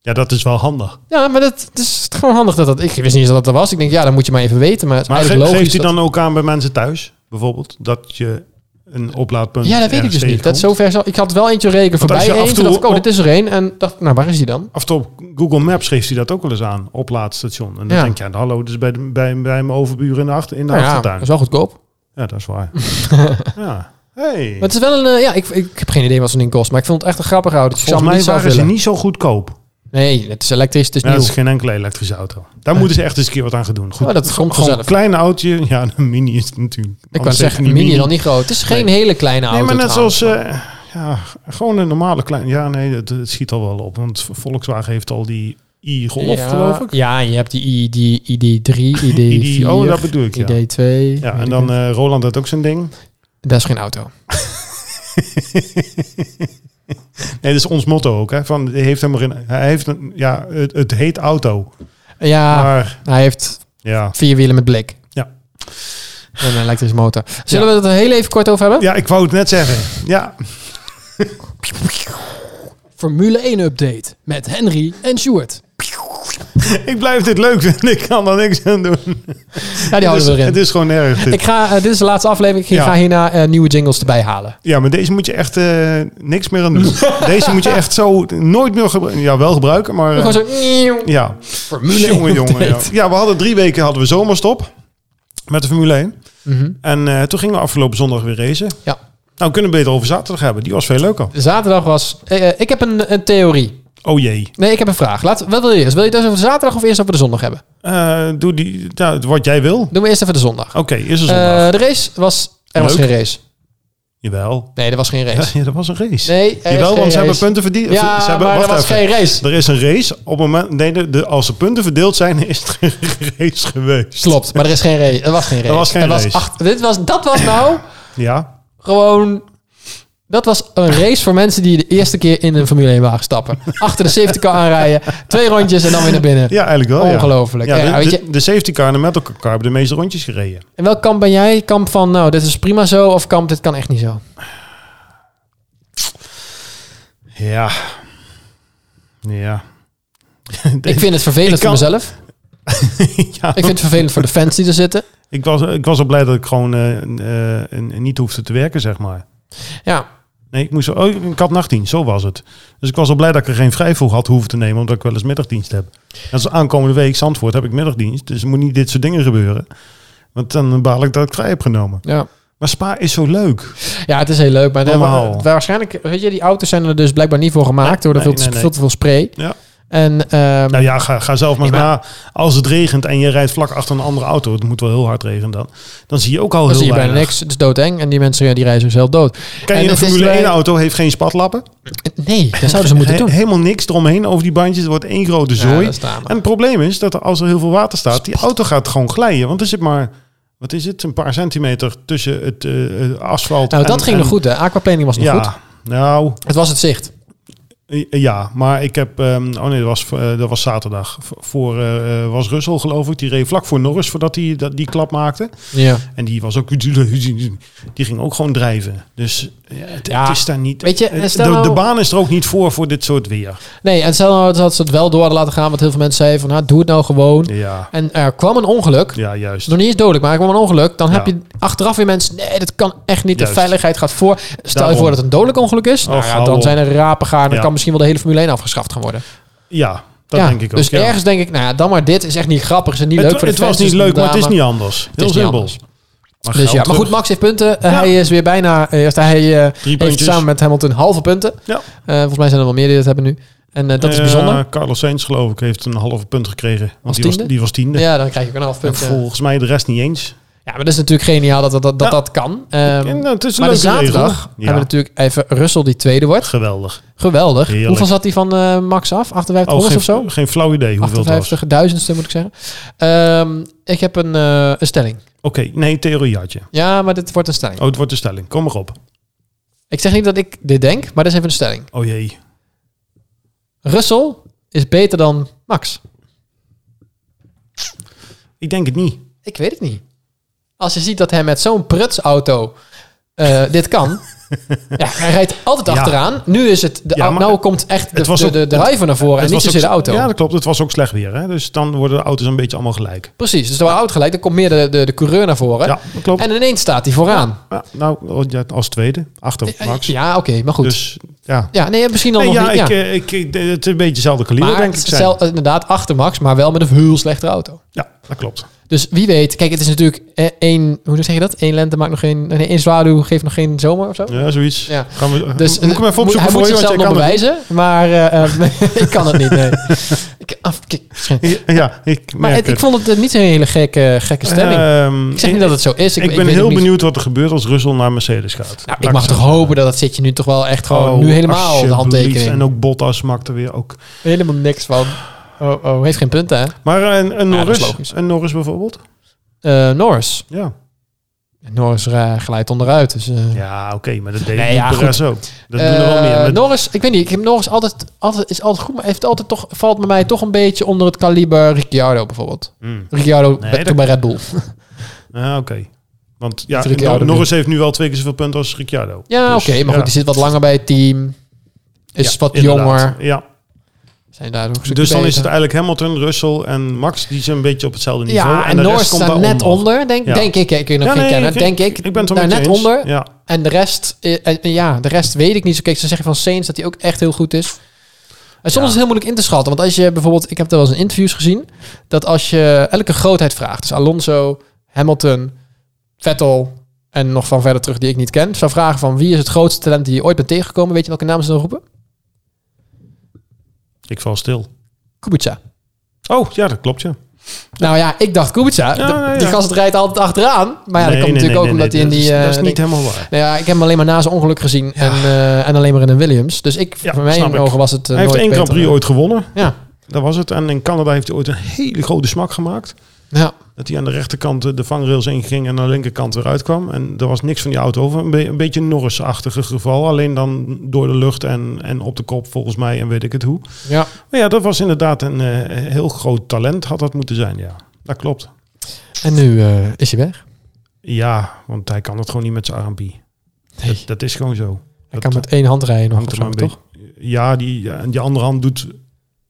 Speaker 2: Ja, dat is wel handig.
Speaker 1: Ja, maar dat, het is gewoon handig dat dat... Ik wist niet eens dat dat er was. Ik denk, ja, dat moet je maar even weten. Maar het is
Speaker 2: Maar ge-
Speaker 1: eigenlijk logisch.
Speaker 2: geeft hij
Speaker 1: dat-
Speaker 2: dan ook aan bij mensen thuis, bijvoorbeeld, dat je een oplaadpunt
Speaker 1: ja, dat weet ik
Speaker 2: ergens
Speaker 1: dus niet. Dat
Speaker 2: tegenkomt?
Speaker 1: is zover zo... Ik had wel eentje rekenen
Speaker 2: als
Speaker 1: voorbij
Speaker 2: je af
Speaker 1: heen. Toen
Speaker 2: en toe
Speaker 1: dacht ik, oh,
Speaker 2: op-
Speaker 1: dit is er één. En dacht, nou, waar is die dan?
Speaker 2: Af en toe op Google Maps geeft hij dat ook wel eens aan, oplaadstation. En dan
Speaker 1: Ja.
Speaker 2: denk je, ja, hallo, dus bij, de, bij, bij mijn overburen in de, achter, in de
Speaker 1: Nou ja, dat
Speaker 2: achtertuin.
Speaker 1: is wel goedkoop.
Speaker 2: Ja, dat is waar. ja. Hey.
Speaker 1: Maar het is wel een... eh, ja, ik, ik heb geen idee wat zo'n ding kost. Maar ik vond het echt een grappig autootje. Ik zou
Speaker 2: Volgens
Speaker 1: hem
Speaker 2: mij
Speaker 1: niet zelf
Speaker 2: waren ze
Speaker 1: willen.
Speaker 2: niet zo goedkoop.
Speaker 1: Nee, het is elektrisch, het is
Speaker 2: Ja,
Speaker 1: nieuw.
Speaker 2: dat is geen enkele elektrische auto. Daar moeten ze echt eens een keer wat aan gaan doen. Goed,
Speaker 1: Oh, dat komt
Speaker 2: gewoon een
Speaker 1: vanzelf.
Speaker 2: klein autootje. Ja, een mini is het natuurlijk.
Speaker 1: Ik kan
Speaker 2: Anders zeg je
Speaker 1: zeggen,
Speaker 2: niet
Speaker 1: mini, dan niet groot. Het is geen hele kleine auto
Speaker 2: Nee, maar net
Speaker 1: trouwens,
Speaker 2: zoals... eh, ja, gewoon een normale klein... Ja, nee, het, het schiet al wel op. Want Volkswagen heeft al die i-golf,
Speaker 1: ja,
Speaker 2: geloof ik.
Speaker 1: Ja, je hebt die ID, ID3, ID4,
Speaker 2: ID, oh, dat bedoel ik, ja.
Speaker 1: ID2.
Speaker 2: Ja, en dan eh, Roland had ook zijn ding.
Speaker 1: Dat is geen auto.
Speaker 2: Nee, dat is ons motto ook. Hè? Van, hij heeft hem erin, hij heeft een, ja, het, het heet auto.
Speaker 1: Ja,
Speaker 2: Maar
Speaker 1: hij heeft
Speaker 2: ja.
Speaker 1: vier wielen met blik.
Speaker 2: Ja.
Speaker 1: En een elektrische motor. Zullen we het er heel even kort over hebben?
Speaker 2: ja, ik wou het net zeggen. Ja,
Speaker 1: Formule 1 update met Henry en Stuart.
Speaker 2: ik blijf dit leuk vinden. Ik kan er niks aan doen.
Speaker 1: Ja, die
Speaker 2: het,
Speaker 1: houden
Speaker 2: is,
Speaker 1: we erin.
Speaker 2: het is gewoon erg. dit.
Speaker 1: Ik ga, eh, dit is de laatste aflevering. Ik
Speaker 2: Ja. Eh.
Speaker 1: ga hierna eh, nieuwe jingles erbij halen.
Speaker 2: Ja, maar deze moet je echt eh, niks meer aan doen. deze moet je echt zo nooit meer gebruiken. Ja, wel gebruiken, maar... eh,
Speaker 1: Gewoon zo...
Speaker 2: ja,
Speaker 1: Formule 1
Speaker 2: jongen, jongen. Ja.
Speaker 1: update.
Speaker 2: ja, we hadden drie weken hadden we zomerstop met de Formule 1.
Speaker 1: Mhm.
Speaker 2: En eh, toen gingen we afgelopen zondag weer racen.
Speaker 1: Ja.
Speaker 2: Nou, we kunnen we beter over zaterdag hebben. Die was veel leuker.
Speaker 1: Zaterdag was... eh, eh, ik heb een, een theorie.
Speaker 2: Oh jee.
Speaker 1: Nee, ik heb een vraag. Laat, wat wil je eerst? Wil je het eerst over zaterdag of eerst over de zondag hebben?
Speaker 2: Eh, doe die, nou, wat jij wil. Oké,
Speaker 1: Doen we eerst even de zondag.
Speaker 2: is er zondag.
Speaker 1: Eh, de race was... Er was
Speaker 2: Leuk.
Speaker 1: geen race.
Speaker 2: Jawel.
Speaker 1: Nee, er was geen
Speaker 2: Ja,
Speaker 1: race.
Speaker 2: ja, dat was een race.
Speaker 1: Nee, er
Speaker 2: Jawel,
Speaker 1: is
Speaker 2: want ze
Speaker 1: geen
Speaker 2: hebben
Speaker 1: race.
Speaker 2: punten verdiend.
Speaker 1: Ja,
Speaker 2: ze hebben,
Speaker 1: maar er
Speaker 2: wacht
Speaker 1: was
Speaker 2: even.
Speaker 1: geen race.
Speaker 2: Er is een race. Op het moment, nee, de, de- als de punten verdeeld zijn, is er een race geweest.
Speaker 1: Klopt, maar er is geen race. Er was geen race.
Speaker 2: was geen
Speaker 1: Er
Speaker 2: race.
Speaker 1: acht- dit was, dat was nou
Speaker 2: Ja.
Speaker 1: gewoon... Dat was een race voor mensen die de eerste keer in een Formule 1 wagen stappen. Achter de safety car aanrijden, twee rondjes en dan weer naar binnen.
Speaker 2: ja, eigenlijk wel. ja.
Speaker 1: Ongelooflijk.
Speaker 2: Ja,
Speaker 1: Ja,
Speaker 2: de,
Speaker 1: weet
Speaker 2: de- de safety car en de metal car hebben de meeste rondjes gereden.
Speaker 1: En welk kamp ben jij? Kamp van, nou, dit is prima zo, of kamp, dit kan echt niet zo?
Speaker 2: Ja. Ja.
Speaker 1: Ik vind het vervelend
Speaker 2: Ik kan-
Speaker 1: voor mezelf.
Speaker 2: ja.
Speaker 1: Ik vind het vervelend voor de fans die er zitten.
Speaker 2: Ik, was, ik was al blij dat ik gewoon eh, eh, niet hoefde te werken, zeg maar.
Speaker 1: Ja,
Speaker 2: Nee, ik, moest, oh, ik had nachtdienst, zo was het. Dus ik was al blij dat ik er geen vrijvoeg had hoeven te nemen, omdat ik wel eens middagdienst heb. En als aankomende week Zandvoort heb ik middagdienst, dus er moet niet dit soort dingen gebeuren. Want dan baal ik dat ik vrij heb genomen.
Speaker 1: ja.
Speaker 2: Maar Spa is zo leuk.
Speaker 1: ja het is heel leuk. Maar daar-
Speaker 2: Allemaal.
Speaker 1: daar waarschijnlijk, weet je, die auto's zijn er dus blijkbaar niet voor gemaakt. door er
Speaker 2: Nee,
Speaker 1: veel, te-
Speaker 2: nee, nee.
Speaker 1: veel te veel spray.
Speaker 2: Ja.
Speaker 1: En ehm,
Speaker 2: Nou ja, ga, ga zelf maar
Speaker 1: Ik
Speaker 2: na. Als het regent en je rijdt vlak achter een andere auto, het moet wel heel hard regenen dan, dan zie je ook al
Speaker 1: dan
Speaker 2: heel
Speaker 1: zie je bijna
Speaker 2: weinig.
Speaker 1: niks. Het is doodeng. En die mensen ja, die rijden zichzelf dood.
Speaker 2: Ken
Speaker 1: En
Speaker 2: je een
Speaker 1: het is
Speaker 2: Formule
Speaker 1: bij-
Speaker 2: 1-auto, heeft geen spatlappen.
Speaker 1: Nee, dat zouden ze moeten
Speaker 2: He-
Speaker 1: doen.
Speaker 2: Helemaal niks eromheen over die bandjes, het wordt één grote
Speaker 1: Ja,
Speaker 2: zooi.
Speaker 1: dat is tamelijk.
Speaker 2: En het probleem is dat er, als er heel veel water staat, die auto gaat gewoon glijden. Want er zit maar, wat is het, een paar centimeter tussen het eh, eh, asfalt.
Speaker 1: Nou,
Speaker 2: en-
Speaker 1: dat ging
Speaker 2: en-
Speaker 1: nog goed, hè? Aquaplaning was nog
Speaker 2: Ja,
Speaker 1: goed.
Speaker 2: nou,
Speaker 1: Het was het zicht.
Speaker 2: eh, ja, maar ik heb, ehm, oh nee, dat was, eh, dat was zaterdag. V- Voor eh, eh, was Russell, geloof ik, die reed vlak voor Norris voordat hij dat, die klap maakte.
Speaker 1: Ja.
Speaker 2: En die was ook, die ging ook gewoon drijven. Dus eh, het,
Speaker 1: Ja,
Speaker 2: het is daar niet.
Speaker 1: Ah, weet je,
Speaker 2: eh,
Speaker 1: en
Speaker 2: de,
Speaker 1: stel nou-
Speaker 2: de baan is er ook niet voor voor dit soort weer.
Speaker 1: Nee, en stel nou dat ze het wel door hadden laten gaan. Want heel veel mensen zeiden van, nou, doe het nou gewoon.
Speaker 2: Ja,
Speaker 1: En er kwam een ongeluk.
Speaker 2: ja juist.
Speaker 1: Nog niet eens dodelijk, maar er kwam een ongeluk. Dan
Speaker 2: Ja.
Speaker 1: heb je achteraf weer mensen. Nee, dat kan echt niet.
Speaker 2: Juist.
Speaker 1: De veiligheid gaat voor. Stel
Speaker 2: Daarom.
Speaker 1: je voor dat het een dodelijk ongeluk is. nou
Speaker 2: Och,
Speaker 1: ja,
Speaker 2: hou op.
Speaker 1: dan zijn er rapen gaar. Dan
Speaker 2: Ja.
Speaker 1: kan misschien wel de hele Formule 1 afgeschaft gaan worden.
Speaker 2: Ja, dat
Speaker 1: Ja,
Speaker 2: denk ik ook.
Speaker 1: Dus
Speaker 2: ja.
Speaker 1: ergens denk ik, nou ja, dan maar dit is echt niet grappig. Is het niet
Speaker 2: het,
Speaker 1: leuk voor de
Speaker 2: het was
Speaker 1: fans,
Speaker 2: niet
Speaker 1: dus
Speaker 2: leuk, maar het is
Speaker 1: daarom-
Speaker 2: niet anders. Heel
Speaker 1: niet
Speaker 2: simpel.
Speaker 1: anders. Dus
Speaker 2: Maar geld
Speaker 1: ja, maar
Speaker 2: terug.
Speaker 1: goed, Max heeft punten. Eh,
Speaker 2: Ja.
Speaker 1: Hij is weer bijna. eh, Eerst hij eh,
Speaker 2: Drie
Speaker 1: heeft
Speaker 2: puntjes.
Speaker 1: samen met Hamilton halve punten.
Speaker 2: Ja.
Speaker 1: Eh, volgens mij zijn er wel meer die dat hebben nu. En eh, dat is
Speaker 2: Eh,
Speaker 1: bijzonder.
Speaker 2: Carlos Sainz, geloof ik, heeft een halve punt gekregen. Want
Speaker 1: Was
Speaker 2: die, was,
Speaker 1: tiende?
Speaker 2: die was tiende.
Speaker 1: Ja, dan krijg je ook een half
Speaker 2: En
Speaker 1: punt. eh.
Speaker 2: volgens mij de rest niet eens.
Speaker 1: Ja, maar dat is natuurlijk geniaal dat dat, dat, dat,
Speaker 2: Ja.
Speaker 1: dat kan. Ehm,
Speaker 2: en, nou, het is een
Speaker 1: maar de
Speaker 2: leuke
Speaker 1: zaterdag
Speaker 2: regel.
Speaker 1: hebben we
Speaker 2: Ja,
Speaker 1: natuurlijk even Russell die tweede wordt.
Speaker 2: geweldig.
Speaker 1: Geweldig.
Speaker 2: Heerlijk. Oh,
Speaker 1: Hoeveel zat die van eh, Max af? 5800
Speaker 2: geen,
Speaker 1: of zo?
Speaker 2: geen flauw idee hoeveel het was. Oké,
Speaker 1: 58.000ste moet ik zeggen. Ehm, ik heb een, eh, een stelling.
Speaker 2: nee, theorie had je.
Speaker 1: Ja, maar dit wordt een stelling.
Speaker 2: Oh, het wordt een stelling. Kom maar op.
Speaker 1: Ik zeg niet dat ik dit denk, maar dat is even een stelling.
Speaker 2: Oh jee.
Speaker 1: Russell is beter dan Max.
Speaker 2: Ik denk het niet.
Speaker 1: Ik weet het niet. Als je ziet dat hij met zo'n prutsauto eh, dit kan. ja, hij rijdt altijd
Speaker 2: Ja.
Speaker 1: achteraan. Nu is het de,
Speaker 2: Ja, maar
Speaker 1: nou komt echt de,
Speaker 2: het was
Speaker 1: de,
Speaker 2: ook-
Speaker 1: de driver naar voren en
Speaker 2: Het
Speaker 1: niet
Speaker 2: was
Speaker 1: zozeer de
Speaker 2: ook-
Speaker 1: auto.
Speaker 2: Ja, dat klopt. Het was ook slecht weer. Hè? Dus dan worden de auto's een beetje allemaal gelijk.
Speaker 1: Precies, dus door auto gelijk, dan komt meer de, de, de coureur naar voren.
Speaker 2: Ja, dat klopt.
Speaker 1: En ineens staat hij vooraan.
Speaker 2: Ja, nou, ja, als tweede. Achter Max.
Speaker 1: Ja, oké, maar goed.
Speaker 2: Dus ja,
Speaker 1: Ja, nee, misschien dan
Speaker 2: Nee,
Speaker 1: nog
Speaker 2: ja,
Speaker 1: niet.
Speaker 2: ik,
Speaker 1: ja.
Speaker 2: eh, ik, ik- het is een beetje hetzelfde kaliber,
Speaker 1: maar
Speaker 2: denk ik.
Speaker 1: het
Speaker 2: zijn.
Speaker 1: stel, inderdaad achter Max, maar wel met een heel slechtere auto.
Speaker 2: Ja. Dat klopt.
Speaker 1: Dus wie weet, kijk, het is natuurlijk eh, één, hoe zeg je dat? Eén lente maakt nog geen, nee, één zwaluw geeft nog geen zomer of zo.
Speaker 2: Ja, zoiets.
Speaker 1: Ja.
Speaker 2: Gaan we,
Speaker 1: Dus
Speaker 2: dus, moet ik hem even
Speaker 1: moet,
Speaker 2: opzoeken
Speaker 1: hij
Speaker 2: voor
Speaker 1: moet
Speaker 2: je? Want
Speaker 1: zichzelf
Speaker 2: jij
Speaker 1: nog
Speaker 2: kan het-
Speaker 1: bewijzen, maar eh, eh, ik kan het niet. Nee. Ik, af, kijk, misschien.
Speaker 2: Ja, ik merk
Speaker 1: maar het- ik
Speaker 2: het.
Speaker 1: vond het eh, niet een hele gekke, gekke stemming.
Speaker 2: Ehm,
Speaker 1: ik zeg niet dat het zo is.
Speaker 2: ik,
Speaker 1: Ik,
Speaker 2: ben
Speaker 1: ik weet
Speaker 2: heel
Speaker 1: het niet.
Speaker 2: benieuwd wat er gebeurt als Russell naar Mercedes gaat.
Speaker 1: Nou,
Speaker 2: Laat
Speaker 1: ik mag
Speaker 2: het zo
Speaker 1: toch
Speaker 2: zeggen.
Speaker 1: hopen dat dat zitje nu toch wel echt gewoon
Speaker 2: Oh,
Speaker 1: nu helemaal de
Speaker 2: alsjeblieft.
Speaker 1: handtekening.
Speaker 2: En ook Bottas maakt er weer ook.
Speaker 1: Helemaal niks van. Oh, oh, heeft geen punten, hè?
Speaker 2: Maar eh, een, een
Speaker 1: Ja, dat is
Speaker 2: Norris,
Speaker 1: logisch.
Speaker 2: een Norris bijvoorbeeld?
Speaker 1: Eh, Norris.
Speaker 2: Ja,
Speaker 1: Norris eh, glijdt onderuit. Dus, eh.
Speaker 2: ja oké, maar dat deed
Speaker 1: Nee,
Speaker 2: nee,
Speaker 1: ja,
Speaker 2: Perez ook. Dat doen er
Speaker 1: Eh,
Speaker 2: wel meer. Maar-
Speaker 1: Norris, ik weet niet. Ik heb Norris altijd, altijd, is altijd goed, maar heeft altijd toch, valt bij mij toch een beetje onder het kaliber Ricciardo bijvoorbeeld.
Speaker 2: Hmm.
Speaker 1: Ricciardo
Speaker 2: Nee,
Speaker 1: bij-
Speaker 2: dat-
Speaker 1: toen bij Red Bull.
Speaker 2: Ah, oké. Want ja,
Speaker 1: Dat Ricciardo
Speaker 2: Nor- Norris heeft nu wel twee keer zoveel punten als Ricciardo.
Speaker 1: Ja,
Speaker 2: Dus,
Speaker 1: oké, maar goed,
Speaker 2: ja.
Speaker 1: die zit wat langer bij het team. Is
Speaker 2: Ja,
Speaker 1: wat
Speaker 2: inderdaad.
Speaker 1: jonger.
Speaker 2: Ja,
Speaker 1: Zijn daar ook een stukje
Speaker 2: dus dan is het
Speaker 1: beter.
Speaker 2: eigenlijk Hamilton, Russell en Max. Die zijn een beetje op hetzelfde niveau.
Speaker 1: Ja, en,
Speaker 2: de rest
Speaker 1: Norris
Speaker 2: komt
Speaker 1: staat net
Speaker 2: daaronder.
Speaker 1: onder, denk,
Speaker 2: Ja.
Speaker 1: denk ik. Ik weet nog
Speaker 2: Ja,
Speaker 1: geen
Speaker 2: nee,
Speaker 1: kennen,
Speaker 2: ik-
Speaker 1: denk ik.
Speaker 2: ik ben het wel
Speaker 1: daar
Speaker 2: met
Speaker 1: net
Speaker 2: je eens.
Speaker 1: onder.
Speaker 2: Ja.
Speaker 1: En de rest, eh, eh, ja, de rest weet ik niet zo. Kijk, ze zeggen van Saints dat hij ook echt heel goed is. En soms
Speaker 2: Ja.
Speaker 1: is het heel moeilijk in te schatten. Want als je bijvoorbeeld, ik heb er wel eens in interviews gezien, dat als je elke grootheid vraagt, dus Alonso, Hamilton, Vettel en nog van verder terug die ik niet ken, zou vragen van wie is het grootste talent die je ooit bent tegengekomen? Weet je welke naam ze dan roepen?
Speaker 2: Ik val stil.
Speaker 1: Kubica.
Speaker 2: Oh, ja, dat klopt, ja.
Speaker 1: Nou ja, ik dacht Kubica.
Speaker 2: Ja,
Speaker 1: d-
Speaker 2: nee,
Speaker 1: Die
Speaker 2: ja.
Speaker 1: gast rijdt altijd achteraan. Maar ja,
Speaker 2: Nee,
Speaker 1: dat komt
Speaker 2: nee,
Speaker 1: natuurlijk
Speaker 2: nee,
Speaker 1: ook omdat
Speaker 2: nee,
Speaker 1: hij in
Speaker 2: dat
Speaker 1: die...
Speaker 2: is-
Speaker 1: eh,
Speaker 2: dat is
Speaker 1: die-
Speaker 2: niet helemaal waar.
Speaker 1: Nou ja, ik heb hem alleen maar na zijn ongeluk gezien. En, eh, en alleen maar in een Williams. Dus ik,
Speaker 2: Ja,
Speaker 1: voor
Speaker 2: snap
Speaker 1: mijn
Speaker 2: ik.
Speaker 1: ogen was het eh,
Speaker 2: Hij heeft
Speaker 1: nooit
Speaker 2: één Grand
Speaker 1: beter.
Speaker 2: Prix ooit gewonnen.
Speaker 1: Ja.
Speaker 2: Dat was het. En in Canada heeft hij ooit een hele grote smak gemaakt.
Speaker 1: eh, ja.
Speaker 2: Dat hij aan de rechterkant eh, de vangrails inging en aan de linkerkant weer uitkwam. En er was niks van die auto over. Een, be- een beetje een Norris-achtige geval. Alleen dan door de lucht en, en op de kop volgens mij en weet ik het hoe.
Speaker 1: ja.
Speaker 2: Maar ja, dat was inderdaad een eh, heel groot talent had dat moeten zijn. Ja, dat klopt.
Speaker 1: En nu eh, is hij weg.
Speaker 2: Ja, want hij kan het gewoon niet met zijn RMP.
Speaker 1: Nee.
Speaker 2: Dat is gewoon zo.
Speaker 1: Hij
Speaker 2: dat
Speaker 1: kan met één hand rijden nog,
Speaker 2: Hangt er maar
Speaker 1: ofzo,
Speaker 2: een
Speaker 1: toch?
Speaker 2: beetje. Ja, die, ja, en die andere hand doet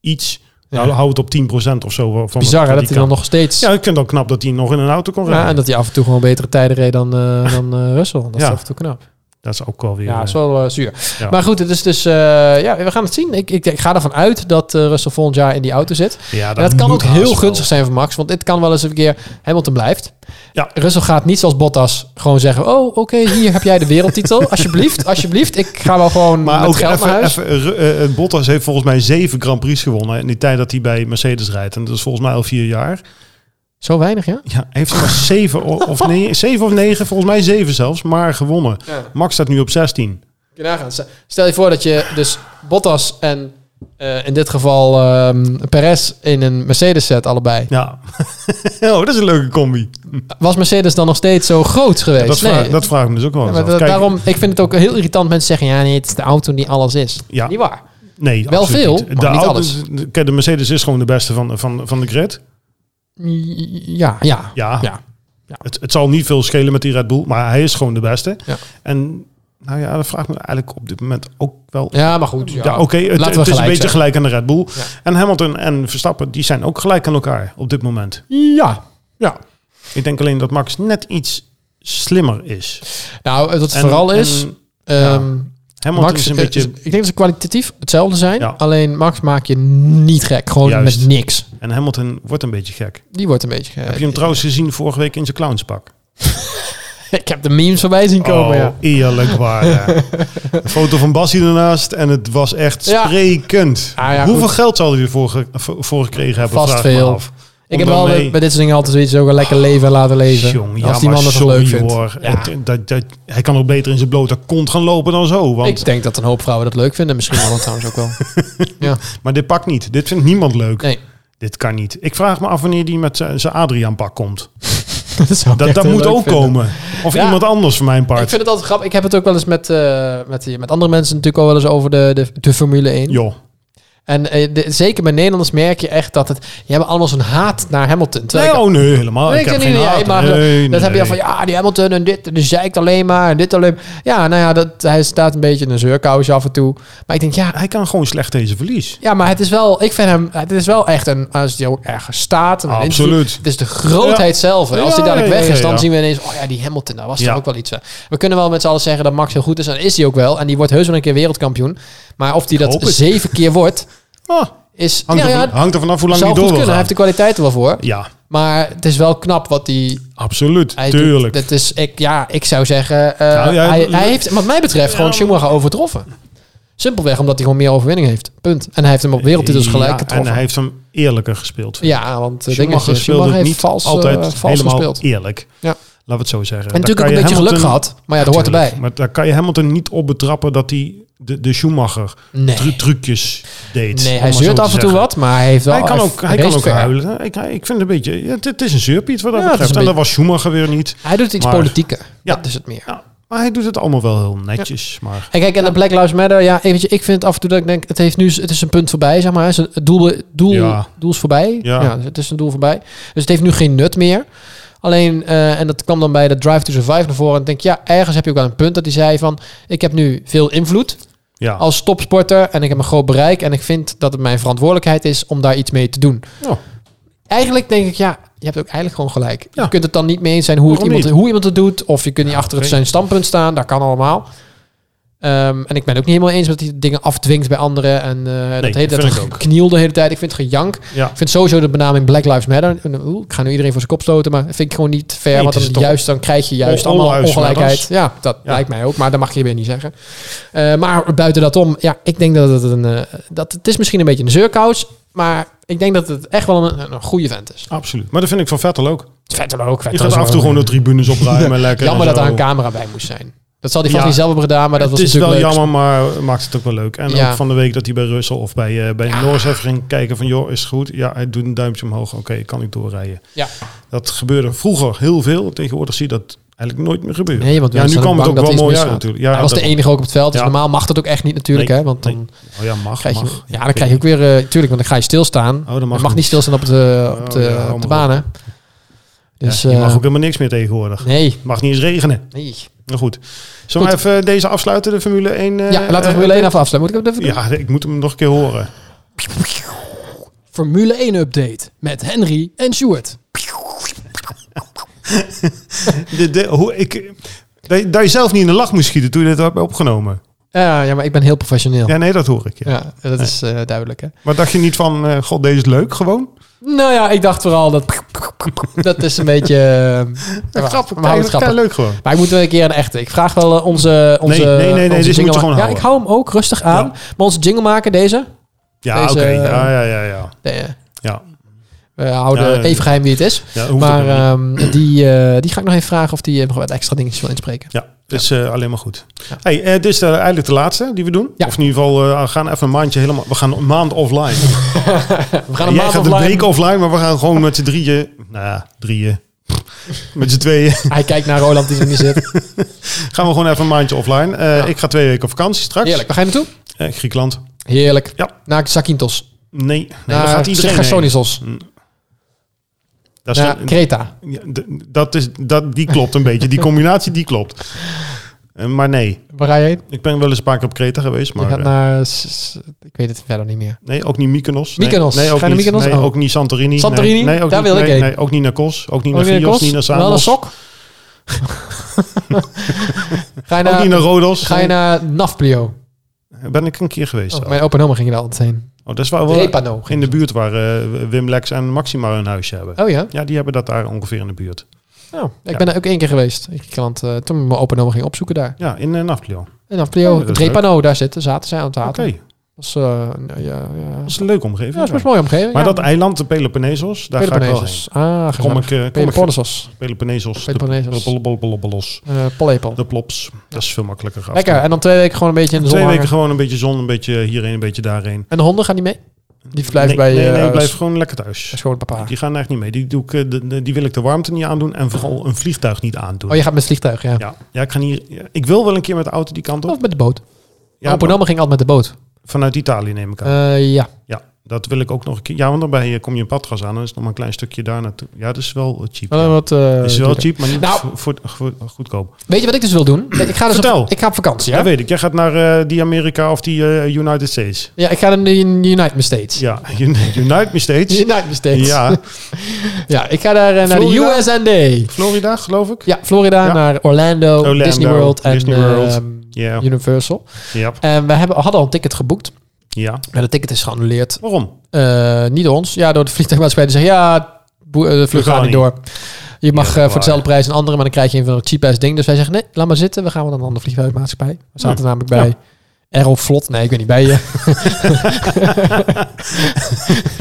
Speaker 2: iets.
Speaker 1: Ja.
Speaker 2: Nou, hou het op 10% of zo. Van
Speaker 1: Bizar hè, dat
Speaker 2: wat die
Speaker 1: hij
Speaker 2: kan.
Speaker 1: dan nog steeds...
Speaker 2: Ja, ik vind het ook knap dat hij nog in een auto kon rijden.
Speaker 1: Ja, en dat hij af en toe gewoon betere tijden reed dan, eh dan eh, Russell. Dat is
Speaker 2: Ja.
Speaker 1: af en toe knap.
Speaker 2: Dat is ook wel weer...
Speaker 1: Ja,
Speaker 2: eh,
Speaker 1: dat is wel eh, zuur.
Speaker 2: Ja.
Speaker 1: Maar goed, het is dus... eh, ja, we gaan het zien. Ik, ik, ik ga ervan uit dat eh, Russell volgend jaar in die auto zit.
Speaker 2: ja,
Speaker 1: En dat kan
Speaker 2: moet
Speaker 1: ook heel
Speaker 2: haast
Speaker 1: gunstig zijn voor Max, want dit kan wel eens een keer Hamilton blijft.
Speaker 2: Ja.
Speaker 1: Russell gaat niet zoals Bottas gewoon zeggen: Oh, oké, hier heb jij de wereldtitel. alsjeblieft, alsjeblieft. Ik ga wel gewoon
Speaker 2: wel. Maar
Speaker 1: met
Speaker 2: ook
Speaker 1: geld naar
Speaker 2: even,
Speaker 1: huis.
Speaker 2: even, Ru- eh, eh, Bottas heeft volgens mij zeven Grand Prix gewonnen in die tijd dat hij bij Mercedes rijdt. En dat is volgens mij al vier jaar.
Speaker 1: Zo weinig, ja?
Speaker 2: Ja, hij heeft er maar zeven o- of, nee, zeven of negen, volgens mij zeven zelfs, maar gewonnen.
Speaker 1: Ja.
Speaker 2: Max staat nu op 16.
Speaker 1: Kun je nagaan. Stel je voor dat je dus Bottas en eh, in dit geval ehm, Perez in een Mercedes zet, allebei.
Speaker 2: Ja, oh, dat is een leuke combi.
Speaker 1: Was Mercedes dan nog steeds zo groot geweest?
Speaker 2: Dat,
Speaker 1: nee.
Speaker 2: vraag, dat vraag ik me dus ook wel
Speaker 1: Ja,
Speaker 2: eens
Speaker 1: maar
Speaker 2: af.
Speaker 1: dat-
Speaker 2: Kijk,
Speaker 1: daarom, ik vind het ook heel irritant mensen zeggen: Ja, nee, het is de auto die alles is.
Speaker 2: Ja.
Speaker 1: Niet waar.
Speaker 2: nee,
Speaker 1: wel
Speaker 2: absoluut
Speaker 1: veel,
Speaker 2: niet.
Speaker 1: maar niet alles.
Speaker 2: Kijk, de Mercedes is gewoon de beste van, van, van de grid.
Speaker 1: Ja, ja.
Speaker 2: Ja,
Speaker 1: Ja.
Speaker 2: Het, het zal niet veel schelen met die Red Bull, maar hij is gewoon de beste.
Speaker 1: Ja.
Speaker 2: En nou ja, dat vraagt me eigenlijk op dit moment ook wel
Speaker 1: Ja, maar goed. Ja,
Speaker 2: Ja, oké, het,
Speaker 1: Laten we
Speaker 2: het is een
Speaker 1: gelijk
Speaker 2: beetje
Speaker 1: zijn.
Speaker 2: gelijk aan de Red Bull.
Speaker 1: Ja.
Speaker 2: En Hamilton en Verstappen, die zijn ook gelijk aan elkaar op dit moment.
Speaker 1: Ja. ja.
Speaker 2: Ik denk alleen dat Max net iets slimmer is.
Speaker 1: Nou, wat het
Speaker 2: En-
Speaker 1: vooral
Speaker 2: en
Speaker 1: is... ehm
Speaker 2: Hamilton
Speaker 1: Max,
Speaker 2: is een
Speaker 1: eh,
Speaker 2: beetje...
Speaker 1: is- ik denk dat ze kwalitatief hetzelfde zijn.
Speaker 2: Ja.
Speaker 1: Alleen Max maak je niet gek. Gewoon
Speaker 2: Juist.
Speaker 1: met niks.
Speaker 2: En Hamilton wordt een beetje gek.
Speaker 1: Die wordt een beetje gek.
Speaker 2: Heb je hem trouwens
Speaker 1: eh.
Speaker 2: gezien vorige week in zijn clownspak?
Speaker 1: ik heb de memes voorbij zien komen,
Speaker 2: oh,
Speaker 1: ja.
Speaker 2: eerlijk waar. ja. Een foto van Bassie ernaast en het was echt
Speaker 1: Ja.
Speaker 2: sprekend.
Speaker 1: Ah, ja,
Speaker 2: Hoeveel
Speaker 1: goed.
Speaker 2: geld zal hij ervoor ge- voor voor gekregen hebben?
Speaker 1: Vast
Speaker 2: vraag ik me
Speaker 1: veel.
Speaker 2: af.
Speaker 1: Ik heb
Speaker 2: Om
Speaker 1: wel
Speaker 2: daarmee-
Speaker 1: bij dit soort dingen altijd zoiets ook een lekker leven en laten leven.
Speaker 2: Jong, ja,
Speaker 1: als die
Speaker 2: maar
Speaker 1: man dat toch
Speaker 2: sorry,
Speaker 1: leuk vindt.
Speaker 2: hoor.
Speaker 1: Ja.
Speaker 2: Het- eh, dat, dat, hij kan ook beter in zijn blote kont gaan lopen dan zo. Want,
Speaker 1: Ik denk dat een hoop vrouwen dat leuk vinden. Misschien wel trouwens ook wel. Ja.
Speaker 2: maar dit pakt niet. Dit vindt niemand leuk.
Speaker 1: Nee,
Speaker 2: Dit kan niet. Ik vraag me af wanneer die met zijn zijn Adriaan-pak komt.
Speaker 1: dat zou ik
Speaker 2: Dat,
Speaker 1: echt
Speaker 2: dat
Speaker 1: heel
Speaker 2: moet
Speaker 1: leuk
Speaker 2: ook
Speaker 1: vinden.
Speaker 2: komen. Of
Speaker 1: Ja.
Speaker 2: iemand anders voor mijn
Speaker 1: Ik
Speaker 2: part.
Speaker 1: vind het altijd grappig. Ik heb het ook wel eens met, eh, met, die- met andere mensen natuurlijk al wel eens over de, de, de Formule 1.
Speaker 2: Joh,
Speaker 1: En eh, de- zeker bij Nederlanders merk je echt dat het... Die hebben allemaal zo'n haat naar Hamilton. Terwijl
Speaker 2: nee,
Speaker 1: ik-
Speaker 2: oh nee, helemaal.
Speaker 1: Nee,
Speaker 2: ik heb
Speaker 1: ken
Speaker 2: geen
Speaker 1: niet,
Speaker 2: haat.
Speaker 1: ja, maar
Speaker 2: Nee,
Speaker 1: dat heb je
Speaker 2: nee.
Speaker 1: al van, ja, die Hamilton en dit, en die zeikt alleen maar, en dit alleen maar. Ja, nou ja, dat, hij staat een beetje in een zeurkousje af en toe. Maar ik denk, ja,
Speaker 2: Hij kan gewoon slecht deze verlies.
Speaker 1: ja maar het is wel, ik vind hem, het is wel echt een, als die ook ergens staat. en een
Speaker 2: Absoluut.
Speaker 1: interview, Het is de grootheid zelf. En als die
Speaker 2: Ja,
Speaker 1: dadelijk
Speaker 2: ja,
Speaker 1: weg
Speaker 2: ja,
Speaker 1: is, dan
Speaker 2: ja.
Speaker 1: zien we ineens, oh ja, die Hamilton, daar was
Speaker 2: Ja.
Speaker 1: toch ook wel iets. aan. We kunnen wel met z'n allen zeggen dat Max heel goed is, en dat is hij ook wel. En die wordt heus wel een keer wereldkampioen. Maar of die dat
Speaker 2: hoop het.
Speaker 1: zeven keer wordt,
Speaker 2: Ah,
Speaker 1: is,
Speaker 2: hangt,
Speaker 1: ja,
Speaker 2: er,
Speaker 1: ja,
Speaker 2: van- hangt er vanaf hoe lang
Speaker 1: zou
Speaker 2: hij
Speaker 1: goed
Speaker 2: door
Speaker 1: kunnen. Hij
Speaker 2: wil gaan.
Speaker 1: heeft de kwaliteit er wel voor.
Speaker 2: Ja,
Speaker 1: Maar het is wel knap wat die,
Speaker 2: Absoluut,
Speaker 1: hij
Speaker 2: tuurlijk.
Speaker 1: doet. Dat is, ik, ja, ik zou zeggen, eh,
Speaker 2: Nou, ja,
Speaker 1: hij,
Speaker 2: dat-
Speaker 1: hij heeft wat mij betreft gewoon
Speaker 2: Ja,
Speaker 1: Schumacher overtroffen. Simpelweg omdat hij gewoon meer overwinning heeft. Punt. En hij heeft hem op wereldtitels gelijk
Speaker 2: Ja,
Speaker 1: getroffen.
Speaker 2: En hij heeft hem eerlijker gespeeld.
Speaker 1: ja, want uh, Schumacher,
Speaker 2: Schumacher speelde
Speaker 1: Schumacher
Speaker 2: het
Speaker 1: heeft
Speaker 2: niet
Speaker 1: vals,
Speaker 2: altijd
Speaker 1: eh, vals
Speaker 2: helemaal
Speaker 1: gespeeld.
Speaker 2: eerlijk.
Speaker 1: Ja.
Speaker 2: Laten we het zo
Speaker 1: En
Speaker 2: zeggen. Dan
Speaker 1: natuurlijk
Speaker 2: kan
Speaker 1: ook een
Speaker 2: je
Speaker 1: beetje geluk
Speaker 2: Hamilton-
Speaker 1: gehad. Maar ja, dat hoort
Speaker 2: Tuurlijk,
Speaker 1: erbij.
Speaker 2: Maar daar kan je Hamilton niet op betrappen dat hij de, de Schumacher
Speaker 1: Nee,
Speaker 2: tru- trucjes deed.
Speaker 1: nee
Speaker 2: om
Speaker 1: hij
Speaker 2: maar zo
Speaker 1: zeurt
Speaker 2: te
Speaker 1: af en toe
Speaker 2: zeggen.
Speaker 1: wat, maar hij heeft wel...
Speaker 2: Hij kan
Speaker 1: hij
Speaker 2: ook, hij kan
Speaker 1: race
Speaker 2: ook
Speaker 1: ver.
Speaker 2: huilen. Ik, ik vind het een beetje... ja, het, het is een zeurpiet wat dat
Speaker 1: Ja, het is
Speaker 2: betreft.
Speaker 1: een
Speaker 2: En dat was Schumacher weer niet.
Speaker 1: Hij doet iets
Speaker 2: Maar-
Speaker 1: politieker.
Speaker 2: Ja.
Speaker 1: Dat is het meer.
Speaker 2: Ja, maar hij doet het allemaal wel heel netjes. Maar
Speaker 1: En kijk, en de Black Lives Matter, ja, eventjes, ik vind het af en toe dat ik denk, het, heeft nu, het is een punt voorbij, zeg maar. Het, is een- het doel, het doel,
Speaker 2: Ja.
Speaker 1: doel is voorbij. Ja.
Speaker 2: Ja.
Speaker 1: het is een doel voorbij. Dus het heeft nu geen nut meer. Alleen, eh, en dat kwam dan bij de Drive to Survive naar voren. En ik denk, ja, ergens heb je ook wel een punt dat hij zei van, ik heb nu veel invloed
Speaker 2: ja,
Speaker 1: als topsporter en ik heb een groot bereik. En ik vind dat het mijn verantwoordelijkheid is om daar iets mee te doen.
Speaker 2: Ja.
Speaker 1: Eigenlijk denk ik, ja, je hebt ook eigenlijk gewoon gelijk.
Speaker 2: Ja.
Speaker 1: Je kunt het dan niet mee eens zijn hoe, het
Speaker 2: Waarom
Speaker 1: iemand, hoe iemand het doet. Of je kunt niet achter het
Speaker 2: oké.
Speaker 1: zijn standpunt staan. Dat kan allemaal. Ehm, en ik ben het ook niet helemaal eens dat hij dingen afdwingt bij anderen. En eh, dat
Speaker 2: dat
Speaker 1: hele dat
Speaker 2: vind ik ook.
Speaker 1: gekniel de hele tijd. Ik vind het gejank.
Speaker 2: ja.
Speaker 1: Ik vind sowieso de benaming Black Lives Matter. en, eh, oeh, ik ga nu iedereen voor zijn kop stoten, maar dat vind ik gewoon niet fair.
Speaker 2: Nee,
Speaker 1: want
Speaker 2: het
Speaker 1: dan,
Speaker 2: is toch
Speaker 1: juist, dan krijg je juist
Speaker 2: all-
Speaker 1: allemaal
Speaker 2: all lives
Speaker 1: ongelijkheid.
Speaker 2: matters.
Speaker 1: Ja, dat
Speaker 2: Ja.
Speaker 1: lijkt mij ook, maar dat mag je weer niet zeggen. Eh, maar buiten dat om, ja, ik denk dat het een... eh, dat, het is misschien een beetje een zeurkous, maar ik denk dat het echt wel een, een, een goede vent is.
Speaker 2: absoluut. Maar dat vind ik van Vettel ook.
Speaker 1: Vettel ook.
Speaker 2: Je
Speaker 1: Vettel
Speaker 2: gaat
Speaker 1: is
Speaker 2: af en toe
Speaker 1: wel-
Speaker 2: gewoon de tribunes opruimen. en lekker
Speaker 1: Jammer
Speaker 2: en
Speaker 1: dat
Speaker 2: zo.
Speaker 1: er een camera bij moest zijn. Dat zal hij vast
Speaker 2: Ja.
Speaker 1: niet zelf hebben gedaan, maar dat was
Speaker 2: het is wel
Speaker 1: natuurlijk leuk.
Speaker 2: jammer, maar maakt het ook wel leuk. En
Speaker 1: Ja.
Speaker 2: ook van de week dat hij bij Russell of bij, eh, bij Norris even ging kijken van... joh, is het goed? Ja, hij doet een duimpje omhoog. Oké, kan ik doorrijden.
Speaker 1: Ja.
Speaker 2: Dat gebeurde vroeger heel veel. Tegenwoordig zie je dat eigenlijk nooit meer gebeuren.
Speaker 1: Nee, want we
Speaker 2: ja, nu
Speaker 1: zijn
Speaker 2: kwam het
Speaker 1: bang
Speaker 2: ook
Speaker 1: dat
Speaker 2: wel
Speaker 1: er iets
Speaker 2: mooi uit
Speaker 1: misgaat.
Speaker 2: natuurlijk. Ja,
Speaker 1: hij was de
Speaker 2: dat-
Speaker 1: enige ook op het veld, dus
Speaker 2: Ja.
Speaker 1: normaal mag dat ook echt niet natuurlijk,
Speaker 2: Nee,
Speaker 1: hè? Want
Speaker 2: nee.
Speaker 1: dan
Speaker 2: Oh ja, mag,
Speaker 1: krijg je,
Speaker 2: mag.
Speaker 1: ja, dan krijg je ook weer... eh, tuurlijk, want dan ga je stilstaan.
Speaker 2: Oh, dat
Speaker 1: mag,
Speaker 2: mag
Speaker 1: mag niet
Speaker 2: niet.
Speaker 1: stilstaan op de, op de,
Speaker 2: Oh, ja,
Speaker 1: op de
Speaker 2: allemaal
Speaker 1: banen. Dus,
Speaker 2: Ja, je mag
Speaker 1: eh,
Speaker 2: ook helemaal niks meer tegenwoordig.
Speaker 1: nee,
Speaker 2: Mag niet eens regenen.
Speaker 1: nee.
Speaker 2: Nou goed. Zullen we even deze afsluiten, de Formule 1? eh,
Speaker 1: Ja, laten we
Speaker 2: eh,
Speaker 1: Formule 1 even afsluiten. Moet ik het even doen?
Speaker 2: Ja, ik moet hem nog een keer horen.
Speaker 1: Formule 1 update met Henry en Stuart.
Speaker 2: De, de, hoe, ik, dat, je- dat je zelf niet in de lach moest schieten toen je dit hebt opgenomen.
Speaker 1: Ja, ja, maar ik ben heel professioneel. Ja,
Speaker 2: Ja, nee, dat hoor ik. Ja.
Speaker 1: dat is eh, duidelijk, hè?
Speaker 2: Maar dacht je niet van, eh, god, deze is leuk gewoon?
Speaker 1: Nou ja, ik dacht vooral dat... dat is een beetje... eh,
Speaker 2: Ja,
Speaker 1: we
Speaker 2: grappig.
Speaker 1: houden het
Speaker 2: Ja,
Speaker 1: grappig.
Speaker 2: leuk gewoon.
Speaker 1: Maar ik moet wel een keer een echte. Ik vraag wel eh, onze... onze
Speaker 2: Nee, nee, nee,
Speaker 1: onze
Speaker 2: nee, dit moet je
Speaker 1: jinglema-
Speaker 2: gewoon
Speaker 1: Ja,
Speaker 2: houden.
Speaker 1: ik hou hem ook rustig aan.
Speaker 2: Ja.
Speaker 1: Maar onze jingle maken, deze...
Speaker 2: Ja,
Speaker 1: Deze,
Speaker 2: oké.
Speaker 1: eh,
Speaker 2: Ja, ja, ja, ja.
Speaker 1: Nee, eh,
Speaker 2: ja.
Speaker 1: we houden
Speaker 2: Ja, ja, ja.
Speaker 1: even geheim wie het is.
Speaker 2: ja hoeft ook
Speaker 1: Maar
Speaker 2: niet.
Speaker 1: ehm, die, eh, die ga ik nog even vragen of die eh, nog wat extra dingetjes wil inspreken.
Speaker 2: ja, dat is eh, alleen maar goed.
Speaker 1: Ja.
Speaker 2: Hey, eh, dit is eh, eigenlijk de laatste die we doen.
Speaker 1: Ja.
Speaker 2: Of in ieder geval, eh, we gaan even een maandje helemaal... We gaan een maand offline.
Speaker 1: We gaan
Speaker 2: Ja,
Speaker 1: een
Speaker 2: Ah, Jij
Speaker 1: maand
Speaker 2: gaat een
Speaker 1: offline.
Speaker 2: week offline, maar we gaan gewoon met z'n drieën... Nou ja, drieën. Met z'n tweeën
Speaker 1: Hij kijkt naar Roland die er niet zit.
Speaker 2: gaan we gewoon even een maandje offline. Eh, Ik ga twee weken op vakantie straks.
Speaker 1: Heerlijk. Waar ga je naartoe?
Speaker 2: Eh, Griekenland.
Speaker 1: Heerlijk.
Speaker 2: Ja.
Speaker 1: Naar Zakynthos.
Speaker 2: Nee, Nou, nee daar
Speaker 1: naar
Speaker 2: gaat iedereen heen.
Speaker 1: Chersonesos.
Speaker 2: Daar
Speaker 1: Naar
Speaker 2: staat-
Speaker 1: Kreta.
Speaker 2: Ja, d- dat is, dat, die klopt een beetje. Die combinatie, die klopt. Eh, maar nee,
Speaker 1: Waar ga je heen?
Speaker 2: ik ben wel eens een paar keer op Kreta geweest. Maar,
Speaker 1: je gaat
Speaker 2: eh,
Speaker 1: naar... s- s- Ik weet het verder niet meer.
Speaker 2: Nee, ook niet Mykonos. Nee,
Speaker 1: Mykonos.
Speaker 2: Nee, ook,
Speaker 1: Ga je naar
Speaker 2: niet,
Speaker 1: Mykonos?
Speaker 2: nee,
Speaker 1: Oh.
Speaker 2: ook niet Santorini.
Speaker 1: Santorini?
Speaker 2: Nee, nee, ook
Speaker 1: Daar
Speaker 2: niet,
Speaker 1: wil ik
Speaker 2: nee,
Speaker 1: heen.
Speaker 2: nee, ook niet naar Kos. Ook niet naar
Speaker 1: Ook weer
Speaker 2: Fios.
Speaker 1: Kos?
Speaker 2: Niet naar
Speaker 1: Wel een
Speaker 2: Samos.
Speaker 1: sok? Ga je
Speaker 2: Ook niet
Speaker 1: naar,
Speaker 2: naar Rodos.
Speaker 1: ga je naar Nafplio?
Speaker 2: Ben ik een keer geweest.
Speaker 1: Oh,
Speaker 2: al.
Speaker 1: mijn opa en oma gingen daar altijd heen.
Speaker 2: Oh, dat is waar we
Speaker 1: Repano.
Speaker 2: in de buurt waar eh, Wim Lex en Maxima hun huisje hebben.
Speaker 1: Oh ja?
Speaker 2: Ja, die hebben dat daar ongeveer in de buurt.
Speaker 1: Oh, ik
Speaker 2: Nou, Ja.
Speaker 1: ben daar ook één keer geweest in Griekenland. eh, toen mijn opa en oma gingen opzoeken daar.
Speaker 2: Ja, in uh, Nafplio. Oké,
Speaker 1: En Nafplio,
Speaker 2: Oh, dat is
Speaker 1: Repano, daar zitten, zaten zij aan het haten.
Speaker 2: dat
Speaker 1: Dat is, eh, nou, ja, ja.
Speaker 2: is een leuke omgeving.
Speaker 1: Ja, dat is
Speaker 2: ja.
Speaker 1: best mooi omgeving.
Speaker 2: Maar
Speaker 1: ja.
Speaker 2: dat eiland, de Peloponnesos, daar
Speaker 1: Peloponnesos. Ah,
Speaker 2: ga ik wel heen.
Speaker 1: gezellig.
Speaker 2: Kom ik, eh, kom ik
Speaker 1: Peloponnesos.
Speaker 2: Peloponnesos, de
Speaker 1: Peloponnesos.
Speaker 2: Blabblabblablos.
Speaker 1: Eh, Palepel.
Speaker 2: De plops. Dat is veel makkelijker. af te
Speaker 1: Lekker. En dan twee weken gewoon een beetje in de
Speaker 2: doen.
Speaker 1: zon
Speaker 2: Twee
Speaker 1: hangen.
Speaker 2: weken gewoon een beetje zon, een beetje hierheen, een beetje daarheen.
Speaker 1: En de honden gaan niet mee? Die blijven
Speaker 2: nee,
Speaker 1: bij
Speaker 2: nee,
Speaker 1: eh,
Speaker 2: nee, ik blijf
Speaker 1: s-
Speaker 2: gewoon lekker thuis.
Speaker 1: schoonpapa.
Speaker 2: Die gaan echt niet mee. Die, doe ik, eh, de- de- die wil ik de warmte niet aandoen en vooral een vliegtuig niet aandoen.
Speaker 1: Oh, je gaat met het vliegtuig, ja.
Speaker 2: ja. ja, ik ga hier. ja, ik wil wel een keer met de auto die kant
Speaker 1: Of
Speaker 2: op.
Speaker 1: met de boot. Ja,
Speaker 2: Ja,
Speaker 1: opa en oma ging altijd met de boot.
Speaker 2: vanuit Italië neem ik aan.
Speaker 1: Eh, ja.
Speaker 2: ja, dat wil ik ook nog een keer. Ja, want dan ben je- kom je in Patras aan. Dan is het nog maar een klein stukje daar naartoe. Ja, dat is wel eh, cheap.
Speaker 1: Wel
Speaker 2: ja.
Speaker 1: een wat, eh,
Speaker 2: is wel
Speaker 1: duurder.
Speaker 2: cheap, maar niet
Speaker 1: Nou.
Speaker 2: voor, voor- voor- goedkoop.
Speaker 1: Weet je wat ik dus wil doen? Ik ga, dus
Speaker 2: Vertel.
Speaker 1: op, ik ga op vakantie,
Speaker 2: Ja?
Speaker 1: hè?
Speaker 2: weet ik. Jij gaat naar eh, die Amerika of die eh, United States.
Speaker 1: Ja, ik ga naar de United Me States.
Speaker 2: Ja, United Me States.
Speaker 1: United Me States.
Speaker 2: Ja,
Speaker 1: Ja, ik ga daar eh, naar de
Speaker 2: Florida?
Speaker 1: USND.
Speaker 2: Florida geloof ik.
Speaker 1: Ja, Florida,
Speaker 2: Ja.
Speaker 1: naar Orlando,
Speaker 2: Orlando,
Speaker 1: Disney World en
Speaker 2: Disney World.
Speaker 1: ehm,
Speaker 2: Ja,
Speaker 1: Universal.
Speaker 2: ja,
Speaker 1: En we hebben, hadden al een ticket geboekt.
Speaker 2: ja.
Speaker 1: Maar dat ticket is geannuleerd.
Speaker 2: Waarom?
Speaker 1: Eh, niet door ons. Ja, door de vliegtuigmaatschappij. Die zeggen, ja, boe- eh, de vlucht
Speaker 2: gaan
Speaker 1: gaat niet
Speaker 2: niet.
Speaker 1: door. Je mag
Speaker 3: dat is
Speaker 1: eh,
Speaker 3: waar,
Speaker 1: voor dezelfde prijs een andere, maar dan krijg je een van een cheap-ass ding. Dus wij zeggen, nee, laat maar zitten. We gaan wel naar een andere vliegtuigmaatschappij. We zaten namelijk bij Aeroflot. Nee, ik weet niet, bij je.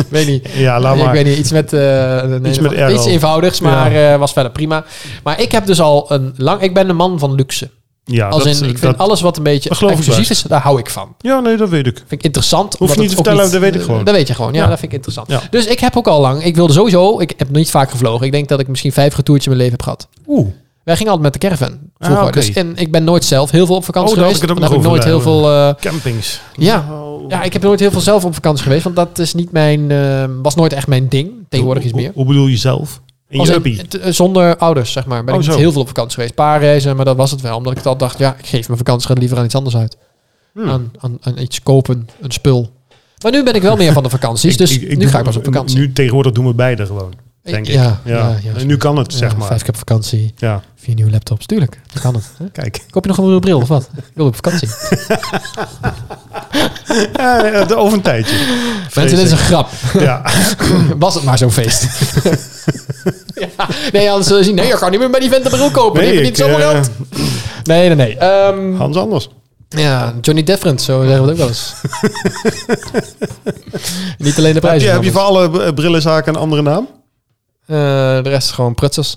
Speaker 1: weet niet.
Speaker 2: Ja, laat
Speaker 1: Ik
Speaker 2: maar.
Speaker 1: weet niet, iets met, eh, een-
Speaker 2: Iets met
Speaker 1: een-
Speaker 2: aero.
Speaker 1: iets eenvoudigs, maar eh, was verder prima. Maar ik heb dus al een lang... Ik ben een man van luxe.
Speaker 2: Ja,
Speaker 1: Als
Speaker 2: dat,
Speaker 1: in, ik vind
Speaker 2: dat-
Speaker 1: alles wat een beetje
Speaker 2: Dat geloof ik
Speaker 1: exclusief is, daar hou ik van.
Speaker 2: ja, nee, dat weet ik.
Speaker 1: Vind ik interessant.
Speaker 2: Hoef je
Speaker 1: omdat
Speaker 2: niet
Speaker 1: het
Speaker 2: te
Speaker 1: ook
Speaker 2: vertellen, dat weet ik gewoon.
Speaker 1: Dat weet je gewoon, ja,
Speaker 2: Ja.
Speaker 1: dat vind ik interessant.
Speaker 2: Ja.
Speaker 1: Dus ik heb ook al lang, ik wilde sowieso, ik heb nog niet vaak gevlogen. Ik denk dat ik misschien vijf retourtjes in mijn leven heb gehad.
Speaker 2: Oeh.
Speaker 1: Wij gingen altijd met de caravan vroeger.
Speaker 2: Ah, oké.
Speaker 1: Dus en ik ben nooit zelf heel veel op vakantie
Speaker 2: Oh, daar had
Speaker 1: geweest.
Speaker 2: ik het ook
Speaker 1: Dan
Speaker 2: nog
Speaker 1: heb ik nooit
Speaker 2: over
Speaker 1: heel
Speaker 2: bij,
Speaker 1: veel... eh,
Speaker 2: Campings.
Speaker 1: ja.
Speaker 2: Nou,
Speaker 1: Oh. ja, ik heb nooit heel veel zelf op vakantie geweest, want dat is niet mijn, eh, was nooit echt mijn ding. Tegenwoordig iets
Speaker 2: hoe-
Speaker 1: meer.
Speaker 2: Hoe, hoe bedoel je zelf? In
Speaker 1: Als
Speaker 2: je
Speaker 1: in-
Speaker 2: uppie.
Speaker 1: t- eh, zonder ouders, zeg maar. Ben
Speaker 2: Oh,
Speaker 1: ik niet
Speaker 2: zo.
Speaker 1: heel veel op vakantie geweest. Paar reizen, maar dat was het wel. Omdat ik het al dacht, ja, ik geef mijn vakantie liever aan iets anders uit.
Speaker 2: Hmm.
Speaker 1: Aan, aan, aan iets kopen, een spul. Maar nu ben ik wel meer van de vakanties. Dus nu
Speaker 2: doe-
Speaker 1: ga ik pas op vakantie.
Speaker 2: Nu tegenwoordig doen we beide gewoon, denk ik.
Speaker 1: Ja, ja, ja,
Speaker 2: En nu kan het,
Speaker 1: Ja,
Speaker 2: zeg maar.
Speaker 1: Vijf keer op vakantie,
Speaker 2: Ja,
Speaker 1: vier nieuwe laptops. Tuurlijk, dat kan het. hè?
Speaker 2: kijk.
Speaker 1: Koop je nog een nieuwe bril of wat? Ik wil op vakantie.
Speaker 2: Eh, eh, Over een tijdje.
Speaker 1: Mensen, dit is een grap. Oh,
Speaker 2: Ja,
Speaker 1: Was het maar zo'n feest. ja, nee, anders zullen ze zien. Nee, je kan niet meer bij die vent een bril kopen. Nee,
Speaker 2: nee,
Speaker 1: niet
Speaker 2: ik,
Speaker 1: zoveel
Speaker 2: eh,
Speaker 1: geld. Nee, nee, nee. Ehm,
Speaker 2: Hans anders.
Speaker 1: Ja, Johnny Deferent, zo zeggen we het ook wel eens. Niet alleen de
Speaker 2: Heb je,
Speaker 1: prijzen.
Speaker 2: heb je voor alle eh, brillenzaken een andere naam?
Speaker 1: Eh, de rest is gewoon prutsers.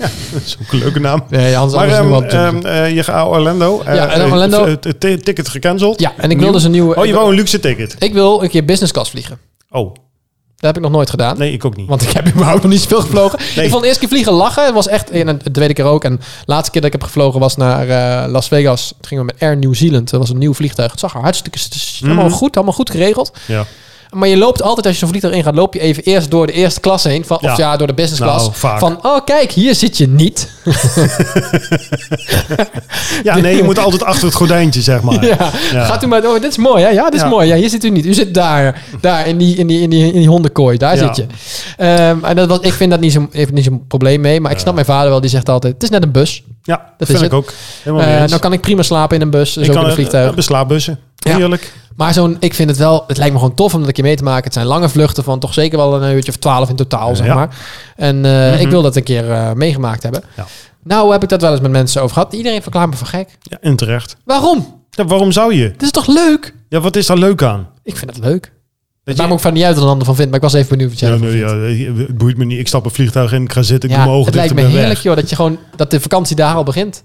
Speaker 2: Dat is ook een leuke naam.
Speaker 1: Nee, Hans
Speaker 2: Maar
Speaker 1: anders
Speaker 2: ehm,
Speaker 1: nu wel Johnny
Speaker 2: ehm, eh, je gaat Orlando. Eh,
Speaker 1: Ja, en
Speaker 2: eh,
Speaker 1: Orlando-
Speaker 2: Het het t- ticket gecanceld.
Speaker 1: Ja, en ik wil dus een nieuwe...
Speaker 2: Oh, je
Speaker 1: ik,
Speaker 2: wou een luxe ticket.
Speaker 1: ik wil een keer business class vliegen.
Speaker 2: Oh,
Speaker 1: Dat heb ik nog nooit gedaan.
Speaker 2: nee, ik ook niet.
Speaker 1: Want ik heb überhaupt nog niet zoveel gevlogen.
Speaker 2: Nee.
Speaker 1: Ik vond de eerste keer vliegen lachen. Het was echt... En de tweede keer ook. En de laatste keer dat ik heb gevlogen was naar eh, Las Vegas. Toen gingen we met Air New Zealand. Dat was een nieuw vliegtuig. Het zag er hartstikke... het is Helemaal
Speaker 2: Mhm.
Speaker 1: goed. Allemaal goed geregeld.
Speaker 2: Ja.
Speaker 1: Maar je loopt altijd, als je zo'n vliegtuig in gaat, loop je even eerst door de eerste klas heen. Van, Of
Speaker 2: Ja.
Speaker 1: ja, door de business
Speaker 2: Nou,
Speaker 1: class.
Speaker 2: vaak.
Speaker 1: Van, oh kijk, hier zit je niet.
Speaker 2: ja, nee, je moet altijd achter het gordijntje, zeg maar.
Speaker 1: Ja.
Speaker 2: Ja.
Speaker 1: Gaat u maar, oh, dit is mooi. Hè? Ja, dit is
Speaker 2: Ja.
Speaker 1: mooi. Ja, hier zit u niet. U zit daar. Daar, in die, in die, in die, in die hondenkooi. Daar
Speaker 2: Ja.
Speaker 1: zit je. Ehm, en dat was, ik vind dat niet zo'n heeft niet zo'n probleem mee. Maar ik snap mijn vader wel. Die zegt altijd, het is net een bus.
Speaker 2: Ja,
Speaker 1: Dat
Speaker 2: dat
Speaker 1: is
Speaker 2: vind ik
Speaker 1: het.
Speaker 2: ook. Helemaal mee
Speaker 1: Eh
Speaker 2: eens.
Speaker 1: nou kan ik prima slapen in een bus. Dus ook in een vliegtuig.
Speaker 2: eh, beslaapbussen.
Speaker 1: Ja.
Speaker 2: Heerlijk.
Speaker 1: Maar zo'n, ik vind het wel, het lijkt me gewoon tof om dat een keer mee te maken. Het zijn lange vluchten van toch zeker wel een uurtje of twaalf in totaal, zeg
Speaker 2: Ja.
Speaker 1: maar. En eh,
Speaker 2: Mhm.
Speaker 1: ik wil dat een keer eh, meegemaakt hebben.
Speaker 2: Ja.
Speaker 1: Nou heb ik dat wel eens met mensen over gehad. Iedereen verklaart me voor gek.
Speaker 2: Ja, en terecht.
Speaker 1: Waarom?
Speaker 2: Ja, waarom zou je?
Speaker 1: Het is toch leuk?
Speaker 2: Ja, wat is daar leuk aan?
Speaker 1: Ik vind het leuk.
Speaker 2: Dat
Speaker 1: Het maakt me ook van niet uit wat een ander van vindt, maar ik was even benieuwd wat jij
Speaker 2: ja,
Speaker 1: ervan
Speaker 2: nee,
Speaker 1: vindt.
Speaker 2: ja, het boeit me niet. Ik stap een vliegtuig in, ik ga zitten, ik
Speaker 1: Ja,
Speaker 2: doe mijn ogen
Speaker 1: het
Speaker 2: dicht
Speaker 1: lijkt
Speaker 2: en
Speaker 1: me
Speaker 2: ben weg.
Speaker 1: heerlijk, joh, dat je gewoon dat de vakantie daar al begint.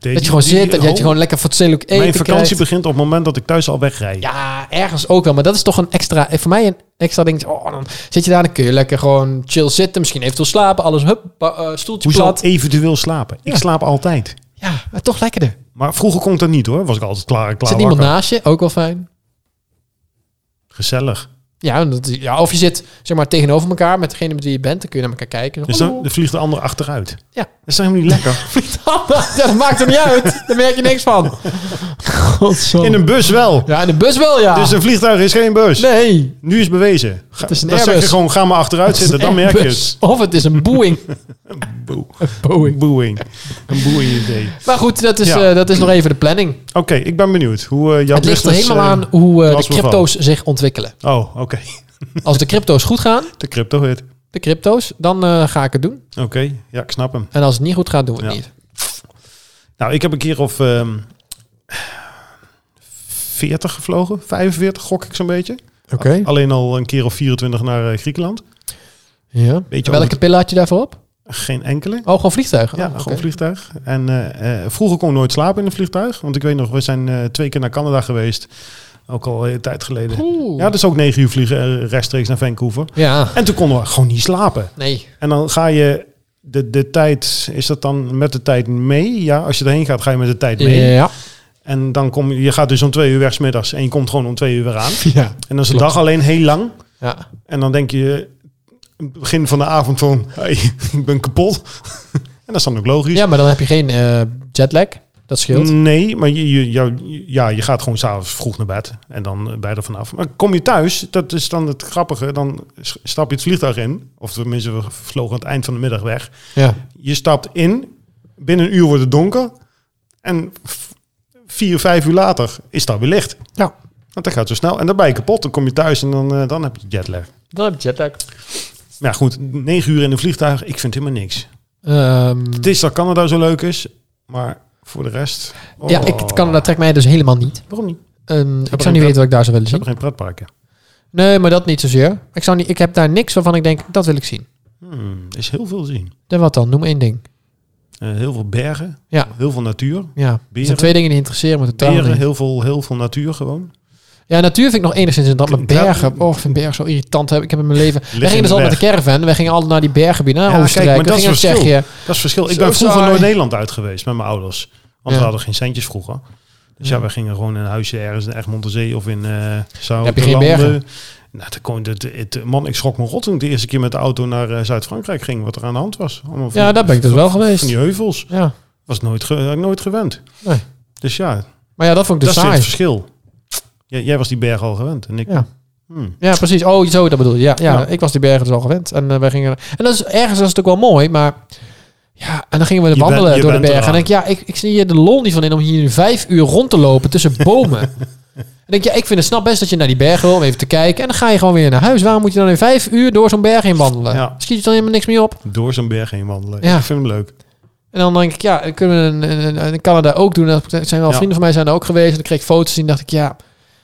Speaker 1: Dat je gewoon zit en dat je gewoon lekker fatsoenlijk eten
Speaker 2: Mijn vakantie
Speaker 1: krijgt.
Speaker 2: begint op het moment dat ik thuis al wegrijd.
Speaker 1: Ja, ergens ook wel. Maar dat is toch een extra... eh, Voor mij een extra ding. Oh, dan zit je daar, dan kun je lekker gewoon chill zitten. Misschien eventueel slapen. Alles, hup, ba- eh, stoeltje
Speaker 2: Hoe zal
Speaker 1: plat.
Speaker 2: ik eventueel slapen?
Speaker 1: Ja.
Speaker 2: Ik slaap altijd.
Speaker 1: Ja, maar toch lekkerder.
Speaker 2: Maar vroeger kon ik dat niet hoor. Was ik altijd klaar, klaar
Speaker 1: zit
Speaker 2: wakker.
Speaker 1: niemand naast je, ook wel fijn.
Speaker 2: Gezellig.
Speaker 1: Ja, dat, ja, of je zit zeg maar tegenover elkaar met degene met wie je bent. Dan kun je naar elkaar kijken. Oh,
Speaker 2: Dus
Speaker 1: Hallo.
Speaker 2: dan dan vliegt de ander achteruit.
Speaker 1: Ja.
Speaker 2: Dat is toch helemaal niet lekker.
Speaker 1: Vliegt allemaal. Ja, dat maakt er niet uit. Daar merk je niks van. Godzo.
Speaker 2: In een bus wel.
Speaker 1: Ja, in de bus wel, ja.
Speaker 2: Dus een vliegtuig is geen bus.
Speaker 1: Ah. nee.
Speaker 2: Nu is bewezen. Ga,
Speaker 1: is een
Speaker 2: dan zeg
Speaker 1: Airbus.
Speaker 2: je gewoon, ga maar achteruit zitten. Dan merk je het.
Speaker 1: Of het is een Boeing.
Speaker 2: Boe-
Speaker 1: Boeing.
Speaker 2: Boeing. Een boeing idee.
Speaker 1: Maar goed, dat is,
Speaker 2: Ja.
Speaker 1: eh, dat is nog even de planning.
Speaker 2: Oké, ik ben benieuwd hoe eh jouw
Speaker 1: het ligt er
Speaker 2: business,
Speaker 1: helemaal
Speaker 2: eh,
Speaker 1: aan hoe eh, de
Speaker 2: was bevallen.
Speaker 1: crypto's zich ontwikkelen.
Speaker 2: Oh, oké.
Speaker 1: Als de crypto's goed gaan,
Speaker 2: De crypto hit.
Speaker 1: de crypto's, dan eh, ga ik het doen.
Speaker 2: Oké, ja, ik snap hem.
Speaker 1: En als het niet goed gaat, doen we het
Speaker 2: Ja.
Speaker 1: niet.
Speaker 2: Nou, ik heb een keer of ehm 40 gevlogen. 45 gok ik zo'n beetje.
Speaker 1: Oké.
Speaker 2: Alleen al een keer of 24 naar eh, Griekenland.
Speaker 1: Ja.
Speaker 2: Beetje
Speaker 1: Welke pillen had je daarvoor op?
Speaker 2: Geen enkele.
Speaker 1: Oh, gewoon vliegtuigen.
Speaker 2: Ja,
Speaker 1: Oh, oké.
Speaker 2: gewoon vliegtuig. En eh, eh, vroeger kon ik nooit slapen in een vliegtuig. Want ik weet nog, we zijn eh, twee keer naar Canada geweest. Ook al een tijd geleden.
Speaker 1: Oeh.
Speaker 2: Ja, dat is ook negen uur vliegen eh, rechtstreeks naar Vancouver.
Speaker 1: Ja,
Speaker 2: En toen konden we gewoon niet slapen.
Speaker 1: nee.
Speaker 2: En dan ga je de, de tijd, is dat dan met de tijd mee? Ja, als je erheen gaat, ga je met de tijd mee.
Speaker 1: Ja.
Speaker 2: En dan kom je, je gaat dus om twee uur weg 's middags en je komt gewoon om twee uur weer aan.
Speaker 1: Ja.
Speaker 2: En dan is de
Speaker 1: Klopt.
Speaker 2: dag alleen heel lang.
Speaker 1: ja.
Speaker 2: En dan denk je, eh, begin van de avond van, hey, ik ben kapot. en dat is dan ook logisch.
Speaker 1: Ja, maar dan heb je geen eh, jetlag. Dat scheelt.
Speaker 2: Nee, maar je, je, jou- ja, je gaat gewoon s'avonds vroeg naar bed en dan eh, bij er vanaf. Maar kom je thuis, dat is dan het grappige, dan s- stap je het vliegtuig in. Of tenminste, we vlogen aan het eind van de middag weg.
Speaker 1: Ja.
Speaker 2: Je stapt in, binnen een uur wordt het donker. En v- vier, vijf uur later is dat weer licht.
Speaker 1: Ja.
Speaker 2: Want dat gaat zo snel. En dan ben je kapot, dan kom je thuis en dan, eh, dan heb je jetlag.
Speaker 1: Dan heb je jetlag.
Speaker 2: Ja, goed. Negen uur in een vliegtuig, ik vind helemaal niks.
Speaker 1: Ehm,
Speaker 2: Het is dat Canada zo leuk is, maar voor de rest... oh.
Speaker 1: Ja, ik, Canada trekt mij dus helemaal niet.
Speaker 2: Waarom niet? Ze
Speaker 1: Ehm, ik
Speaker 2: geen
Speaker 1: zou niet
Speaker 2: pret-
Speaker 1: weten wat ik daar zou willen zien.
Speaker 2: hebben geen pretparken.
Speaker 1: Nee, maar dat niet zozeer. Ik, zou niet, ik heb daar niks waarvan ik denk, dat wil ik zien.
Speaker 2: Hmm, er is heel veel te zien.
Speaker 1: Dan wat dan? Noem één ding.
Speaker 2: Eh, heel veel bergen,
Speaker 1: Ja.
Speaker 2: heel veel natuur.
Speaker 1: Ja, dat
Speaker 2: Beren.
Speaker 1: zijn twee dingen die interesseren me totaal
Speaker 2: Beren,
Speaker 1: niet.
Speaker 2: heel veel, heel veel natuur gewoon.
Speaker 1: Ja, natuur vind ik nog enigszins interessant, maar
Speaker 2: Klinkt-
Speaker 1: bergen... Oh, ik vind bergen zo irritant. Heb- Ik heb in mijn leven...
Speaker 2: in
Speaker 1: Wij gingen
Speaker 2: de
Speaker 1: dus al met de
Speaker 2: berg.
Speaker 1: caravan. Wij gingen altijd naar die bergen binnen, naar
Speaker 2: Ja, kijk,
Speaker 1: Oostenrijk.
Speaker 2: maar
Speaker 1: we
Speaker 2: dat is
Speaker 1: gingen naar
Speaker 2: verschil.
Speaker 1: Tsjechië.
Speaker 2: Dat is het verschil. Ik
Speaker 1: Zo
Speaker 2: ben vroeger
Speaker 1: saai.
Speaker 2: nooit Nederland uit geweest met mijn ouders. Want
Speaker 1: Ja.
Speaker 2: we hadden geen centjes vroeger. Dus ja,
Speaker 1: Ja.
Speaker 2: we gingen gewoon in een huisje ergens in Egmond aan Zee of in eh Zou.
Speaker 1: Heb je geen bergen?
Speaker 2: Nou, dan kon, dat, het, man, ik schrok me rot toen ik de eerste keer met de auto naar eh, Zuid-Frankrijk ging. Wat er aan de hand was. Allemaal van
Speaker 1: Ja,
Speaker 2: die-
Speaker 1: daar ben ik dus wel
Speaker 2: Van
Speaker 1: geweest.
Speaker 2: die heuvels.
Speaker 1: Ja.
Speaker 2: Was nooit, ge- had ik nooit gewend.
Speaker 1: Nee.
Speaker 2: Dus ja,
Speaker 1: Maar ja, dat vond ik dus
Speaker 2: dat is weer het
Speaker 1: saai.
Speaker 2: verschil. Jij, jij was die berg al gewend. En ik,
Speaker 1: Ja.
Speaker 2: Hmm.
Speaker 1: Ja, precies. Oh, zo, dat bedoel je. Ja, ja,
Speaker 2: Ja.
Speaker 1: ik was die bergen dus al gewend. En eh, wij gingen... En dat is ergens dat is natuurlijk wel mooi, maar... Ja, en dan gingen we
Speaker 2: Je bent-
Speaker 1: wandelen
Speaker 2: je
Speaker 1: door de
Speaker 2: bent
Speaker 1: bergen. En
Speaker 2: eraan.
Speaker 1: denk ik, ja, ik, ik zie hier de lol niet van in om hier nu vijf uur rond te lopen tussen bomen. en denk ik, ja, ik vind het snap best dat je naar die bergen wil om even te kijken. En dan ga je gewoon weer naar huis. Waarom moet je dan in vijf uur door zo'n berg heen wandelen?
Speaker 2: Ja.
Speaker 1: Schiet je dan helemaal niks meer op?
Speaker 2: Door zo'n berg heen wandelen.
Speaker 1: Ja.
Speaker 2: Ik vind hem leuk.
Speaker 1: En dan denk ik, ja, dat kunnen we in, in- in Canada ook doen. Dat zijn wel
Speaker 2: Ja.
Speaker 1: vrienden van mij zijn er ook geweest. En dan kreeg ik foto's zien. dacht ik, ja,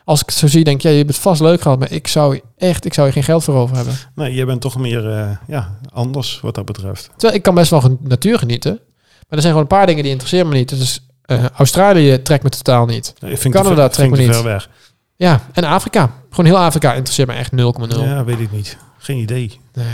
Speaker 1: als ik het zo zie, denk ik, ja, je hebt het vast leuk gehad. Maar ik zou echt, ik zou hier geen geld voor over hebben.
Speaker 2: Nee, jij bent toch meer eh, ja, anders wat dat betreft.
Speaker 1: Terwijl ik kan best wel van natuur genieten. Maar er zijn gewoon een paar dingen die interesseren me niet. Dus eh, Australië trekt me totaal niet.
Speaker 2: Ik vind
Speaker 1: Canada
Speaker 2: het
Speaker 1: trekt me
Speaker 2: te
Speaker 1: niet.
Speaker 2: ver weg.
Speaker 1: Ja, en Afrika. Gewoon heel Afrika interesseert me echt 0,0.
Speaker 2: Ja, weet ik niet. Geen idee.
Speaker 1: Nee.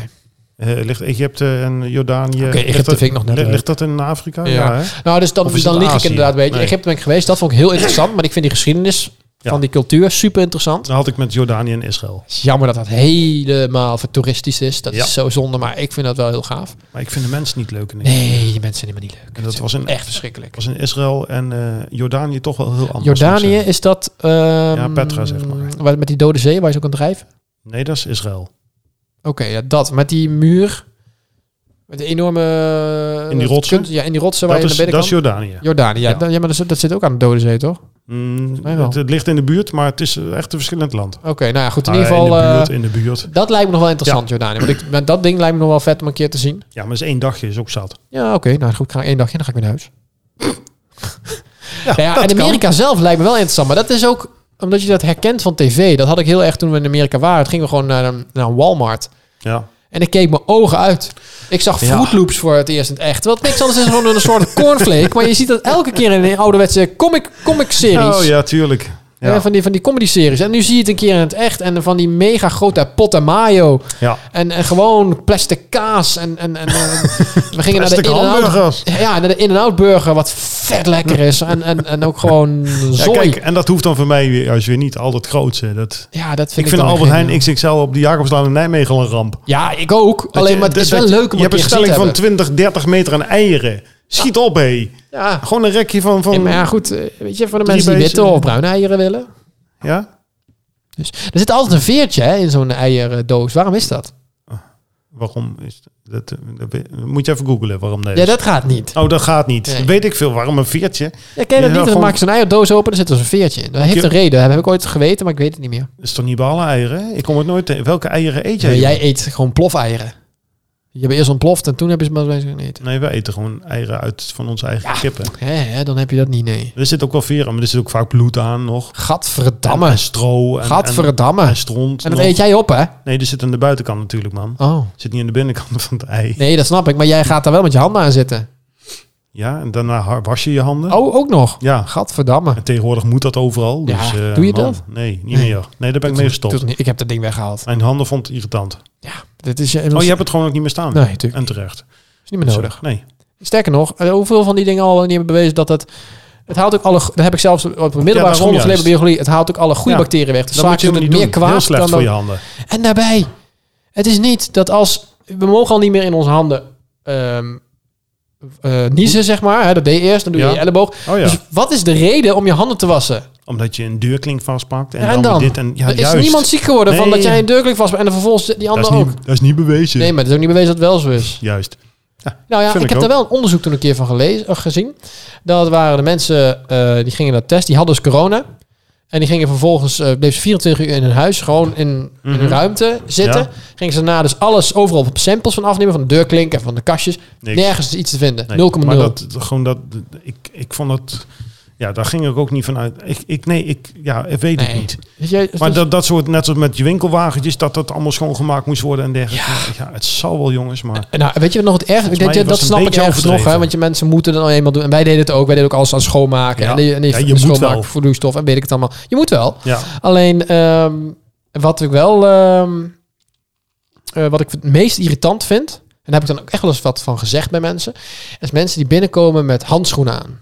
Speaker 2: Eh, ligt Egypte en Jordanië...
Speaker 1: Oké, Egypte
Speaker 2: ligt dat-
Speaker 1: vind ik nog net
Speaker 2: li-
Speaker 1: leuk.
Speaker 2: Ligt dat in Afrika?
Speaker 1: Ja.
Speaker 2: Ja, hè?
Speaker 1: Nou, dus dan,
Speaker 2: Of is
Speaker 1: dan
Speaker 2: het
Speaker 1: lieg ik
Speaker 2: Azië?
Speaker 1: inderdaad een beetje.
Speaker 2: Nee.
Speaker 1: Egypte ben ik geweest. Dat vond ik heel interessant. Maar ik vind die geschiedenis
Speaker 2: Ja.
Speaker 1: van die cultuur super interessant.
Speaker 2: Dan had ik met Jordanië en Israël.
Speaker 1: Het is jammer dat dat helemaal voor toeristisch is. Dat
Speaker 2: Ja.
Speaker 1: is zo zonde, maar ik vind dat wel heel gaaf.
Speaker 2: Maar ik vind de mensen niet leuk in Egypte.
Speaker 1: Nee, die mensen zijn helemaal niet leuk.
Speaker 2: En dat was in,
Speaker 1: Echt verschrikkelijk.
Speaker 2: was in Israël en eh, Jordanië toch wel heel anders.
Speaker 1: Jordanië
Speaker 2: moet ik
Speaker 1: is dat... ehm,
Speaker 2: Petra, zeg maar.
Speaker 1: waar- Met die dode zee, waar ze ook aan het drijven?
Speaker 2: zeggen. Nee, dat is Israël.
Speaker 1: Oké, ja, dat. Met die muur. Met de enorme...
Speaker 2: In die rotsen?
Speaker 1: kunst- ja, in die rotsen
Speaker 2: Dat
Speaker 1: waar
Speaker 2: is,
Speaker 1: je naar
Speaker 2: dat is
Speaker 1: binnen kan.
Speaker 2: Jordanië.
Speaker 1: Jordanië, ja.
Speaker 2: Ja.
Speaker 1: Da- Ja, maar dat, zit- dat zit ook aan de dode zee, toch? Oké,
Speaker 2: Mm,
Speaker 1: Mij wel.
Speaker 2: het, het ligt in de buurt, maar het is eh, echt een verschillend land.
Speaker 1: nou ja, goed. In
Speaker 2: Ah,
Speaker 1: ieder geval...
Speaker 2: in de buurt,
Speaker 1: eh,
Speaker 2: in de buurt.
Speaker 1: dat lijkt me nog wel interessant, Jordanië. Want ik, maar dat ding lijkt me nog wel vet om een keer te zien.
Speaker 2: Ja, maar is één dagje is ook zat.
Speaker 1: Ja, oké. nou goed, ik ga één dagje en dan ga ik weer naar huis.
Speaker 2: Ja,
Speaker 1: Nou ja,
Speaker 2: dat
Speaker 1: en
Speaker 2: kan.
Speaker 1: Amerika zelf lijkt me wel interessant. Maar dat is ook omdat je dat herkent van tv. Dat had ik heel erg toen we in Amerika waren. Het gingen we gewoon naar een, naar een Walmart.
Speaker 2: Ja.
Speaker 1: En ik keek mijn ogen uit. Ik zag
Speaker 2: Ja.
Speaker 1: Fruit Loops voor het eerst in het echt. Wat niks anders is dan een soort cornflake. Maar je ziet dat elke keer in een ouderwetse comic, comic series. Eh,
Speaker 2: Oh ja, tuurlijk. Ja.
Speaker 1: Van die, van die comedy series. En nu zie je het een keer in het echt. En van die mega grote potten mayo.
Speaker 2: Ja.
Speaker 1: En, en gewoon plastic kaas. En, en, en, eh, we gingen naar de
Speaker 2: Plastic
Speaker 1: in
Speaker 2: hamburgers.
Speaker 1: ja, naar de in-en-out burger, wat vet lekker is. En, en, en ook gewoon
Speaker 2: Ja,
Speaker 1: zooi.
Speaker 2: kijk, en dat hoeft dan voor mij weer, juist weer niet al dat grootste. Dat,
Speaker 1: Ja, dat
Speaker 2: ik
Speaker 1: vind ik,
Speaker 2: vind
Speaker 1: dan
Speaker 2: Albert
Speaker 1: geen-
Speaker 2: Heijn XXL op de Jacobslaan in Nijmegen al een ramp. Dat
Speaker 1: Ja, ik ook. Alleen
Speaker 2: je-
Speaker 1: maar het
Speaker 2: dat-
Speaker 1: is wel
Speaker 2: dat-
Speaker 1: leuk om
Speaker 2: Je
Speaker 1: een
Speaker 2: hebt
Speaker 1: keer
Speaker 2: een
Speaker 1: gezien te
Speaker 2: stelling van
Speaker 1: hebben.
Speaker 2: 20, 30 meter aan eieren. Schiet op, hé.
Speaker 1: Ja.
Speaker 2: Gewoon een rekje van...
Speaker 1: Ja,
Speaker 2: van
Speaker 1: maar
Speaker 2: ja.
Speaker 1: ja, goed. eh, Weet je, voor de mensen die
Speaker 2: beesten.
Speaker 1: witte of bruine eieren willen. Dus, er zit altijd een veertje hè, in zo'n eierdoos. Waarom is dat?
Speaker 2: Waarom is dat, dat- dat- Moet je even googlen waarom nee.
Speaker 1: Ja, dat gaat niet.
Speaker 2: Oh, dat gaat niet.
Speaker 1: Nee.
Speaker 2: Weet ik veel. Waarom een veertje?
Speaker 1: Ja, ken je
Speaker 2: Ja, nou,
Speaker 1: dat niet? Dan
Speaker 2: gewoon-
Speaker 1: maak je zo'n eierdoos open en zit er zo'n veertje in. Dat heeft
Speaker 2: Oké.
Speaker 1: een reden. Dat heb ik ooit geweten, maar ik weet het niet meer.
Speaker 2: Dat is toch niet bij alle eieren? Ik kom het nooit tegen. Welke eieren eet jij?
Speaker 1: Nee,
Speaker 2: joh?
Speaker 1: Nou, jij eet gewoon plofeieren. Je hebt eerst ontploft en toen heb je ze maar bij eten.
Speaker 2: Nee, wij eten gewoon eieren uit van onze eigen kippen.
Speaker 1: Hè, hè, dan heb je dat niet, nee.
Speaker 2: Er zit ook wel veer aan, maar er zit ook vaak bloed aan nog. En
Speaker 1: Gadverdamme.
Speaker 2: stro. En, en,
Speaker 1: Gadverdamme.
Speaker 2: en stront.
Speaker 1: En dat
Speaker 2: nog.
Speaker 1: eet jij op, hè?
Speaker 2: Nee, die zit aan de buitenkant natuurlijk, man.
Speaker 1: Oh.
Speaker 2: Zit niet aan de binnenkant van het ei.
Speaker 1: Nee, dat snap ik. Maar jij gaat daar wel met je handen aan zitten.
Speaker 2: Ja, en daarna har- was je je handen.
Speaker 1: Oh, ook nog?
Speaker 2: Ja,
Speaker 1: Gadverdamme.
Speaker 2: en tegenwoordig moet dat overal.
Speaker 1: Ja,
Speaker 2: Dus, eh,
Speaker 1: doe je
Speaker 2: man,
Speaker 1: dat?
Speaker 2: Nee, niet
Speaker 1: Nee.
Speaker 2: meer. Nee, daar ben ik mee gestopt.
Speaker 1: Doet niet. Ik heb dat ding weggehaald.
Speaker 2: Mijn handen vond het irritant.
Speaker 1: Ja, dit is... eh,
Speaker 2: Oh, je hebt het gewoon ook niet meer staan.
Speaker 1: Nee, natuurlijk.
Speaker 2: En terecht.
Speaker 1: is niet meer nodig.
Speaker 2: Nee.
Speaker 1: Sterker nog, eh, hoeveel van die dingen al niet hebben bewezen dat het... Het haalt ook alle... go- Dat heb ik zelfs op de middelbare
Speaker 2: daarom
Speaker 1: school nog geleerd
Speaker 2: juist.
Speaker 1: bij biologie. Het haalt ook alle goede
Speaker 2: Ja,
Speaker 1: bacteriën weg. Dus
Speaker 2: Dat
Speaker 1: vaak
Speaker 2: moet je
Speaker 1: doet
Speaker 2: helemaal
Speaker 1: het
Speaker 2: niet
Speaker 1: meer
Speaker 2: doen.
Speaker 1: kwaad
Speaker 2: Heel slecht
Speaker 1: dan
Speaker 2: voor je
Speaker 1: dat-
Speaker 2: handen.
Speaker 1: En daarbij, het is niet dat als... We mogen al niet meer in onze handen ehm, eh, niezen, zeg maar. Hè, dat deed je eerst, dan doe je
Speaker 2: Ja.
Speaker 1: je elleboog.
Speaker 2: Oh ja,
Speaker 1: Dus wat is de reden om je handen te wassen?
Speaker 2: omdat je een deurklink vastpakt. En,
Speaker 1: Ja, en
Speaker 2: dan, weer
Speaker 1: dan?
Speaker 2: dit en ja,
Speaker 1: er is
Speaker 2: juist.
Speaker 1: niemand ziek geworden van
Speaker 2: Nee.
Speaker 1: dat jij een deurklik was en dan vervolgens die
Speaker 2: dat is,
Speaker 1: ander ook.
Speaker 2: niet, dat is niet bewezen.
Speaker 1: Nee, maar dat is ook niet bewezen dat het wel zo is.
Speaker 2: Juist.
Speaker 1: Nou ja,
Speaker 2: Vind
Speaker 1: ik
Speaker 2: ik
Speaker 1: heb
Speaker 2: ook.
Speaker 1: daar wel een onderzoek toen een keer van gelezen, eh, gezien. Dat waren de mensen eh, die gingen dat testen, die hadden dus corona. En die gingen vervolgens, eh bleef ze 24 uur in hun huis, gewoon in, in
Speaker 2: Mhm.
Speaker 1: een ruimte zitten.
Speaker 2: Ja.
Speaker 1: Gingen ze daarna dus alles overal op samples van afnemen, van de deurklinken, van de kastjes.
Speaker 2: Niks.
Speaker 1: Nergens is iets te vinden. 0,0.
Speaker 2: Nee, Maar dat, gewoon dat, ik, ik vond dat, ja, daar ging ik ook niet van uit. Ik, ik, nee, ik, ja, ik weet het
Speaker 1: Nee.
Speaker 2: niet.
Speaker 1: Weet je, het
Speaker 2: Maar
Speaker 1: is-
Speaker 2: dat, dat soort, net zoals met je winkelwagentjes, dat dat allemaal schoongemaakt moest worden en dergelijke. Ja, het zal wel jongens, maar
Speaker 1: Nou, weet je wat nog het ergste?
Speaker 2: Volgens
Speaker 1: Ik denk,
Speaker 2: mij
Speaker 1: dat
Speaker 2: was het een
Speaker 1: snap ik
Speaker 2: beetje
Speaker 1: ergens nog, hè,
Speaker 2: overdreven.
Speaker 1: want je mensen moeten dat nou eenmaal doen. En wij deden het ook. Wij deden ook alles aan schoonmaken.
Speaker 2: Ja.
Speaker 1: En, die, en die
Speaker 2: Ja, je moet
Speaker 1: schoonmaken
Speaker 2: wel.
Speaker 1: voor vloeistof en weet ik het allemaal. Je moet wel.
Speaker 2: ja.
Speaker 1: Alleen, ehm, wat ik wel... ehm, eh, wat ik het meest irritant vind... En daar heb ik dan ook echt wel eens wat van gezegd bij mensen... is mensen die binnenkomen met handschoenen aan.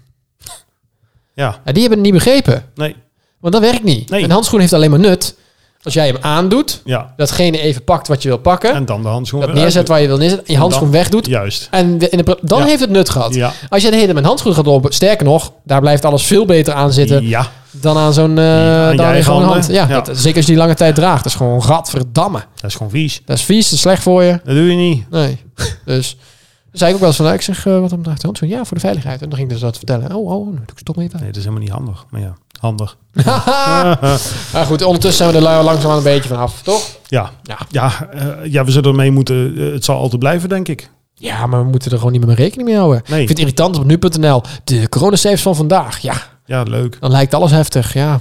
Speaker 2: Ja,
Speaker 1: En die hebben het niet begrepen.
Speaker 2: nee,
Speaker 1: Want dat werkt niet.
Speaker 2: Nee.
Speaker 1: Een handschoen heeft alleen maar nut... als jij hem aandoet...
Speaker 2: ja.
Speaker 1: datgene even pakt wat je wil pakken...
Speaker 2: En dan de handschoenen.
Speaker 1: dat
Speaker 2: weer
Speaker 1: neerzet waar je wil neerzetten... en je
Speaker 2: En dan-
Speaker 1: handschoen wegdoet...
Speaker 2: uit. Juist,
Speaker 1: En de- in de, pro- dan
Speaker 2: Ja.
Speaker 1: heeft het nut gehad.
Speaker 2: ja.
Speaker 1: Als je de hele tijd met handschoenen gaat lopen, sterker nog, daar blijft alles veel beter aan zitten
Speaker 2: Ja,
Speaker 1: dan aan zo'n eh
Speaker 2: aan je
Speaker 1: dan aan
Speaker 2: eigen
Speaker 1: zo'n hand.
Speaker 2: handen.
Speaker 1: Ja,
Speaker 2: Ja.
Speaker 1: Dat, zeker als je die lange tijd draagt. Dat is gewoon gadverdamme.
Speaker 2: dat is gewoon vies.
Speaker 1: Dat is vies, dat is slecht voor je.
Speaker 2: Dat doe je niet.
Speaker 1: Nee. dus daar zei ik ook wel eens van, nou, ik zeg, eh, wat om draagt de handschoen? Ja, voor de veiligheid. En dan ging ik dus dat vertellen. Oh, oh, nou, doe ik stop mee
Speaker 2: Nee, dat is helemaal niet handig. Maar ja, handig.
Speaker 1: Ah. Maar goed, ondertussen zijn we er langzaam een beetje vanaf, toch?
Speaker 2: Ja,
Speaker 1: Ja.
Speaker 2: ja. Ja, eh, ja, we zullen ermee moeten. eh, het zal altijd blijven, denk ik.
Speaker 1: Ja, maar we moeten er gewoon niet meer rekening mee houden.
Speaker 2: Nee.
Speaker 1: Ik vind het irritant op nu.nl. De coronacijfers van vandaag. Ja,
Speaker 2: Ja, leuk.
Speaker 1: Dan lijkt alles heftig, ja.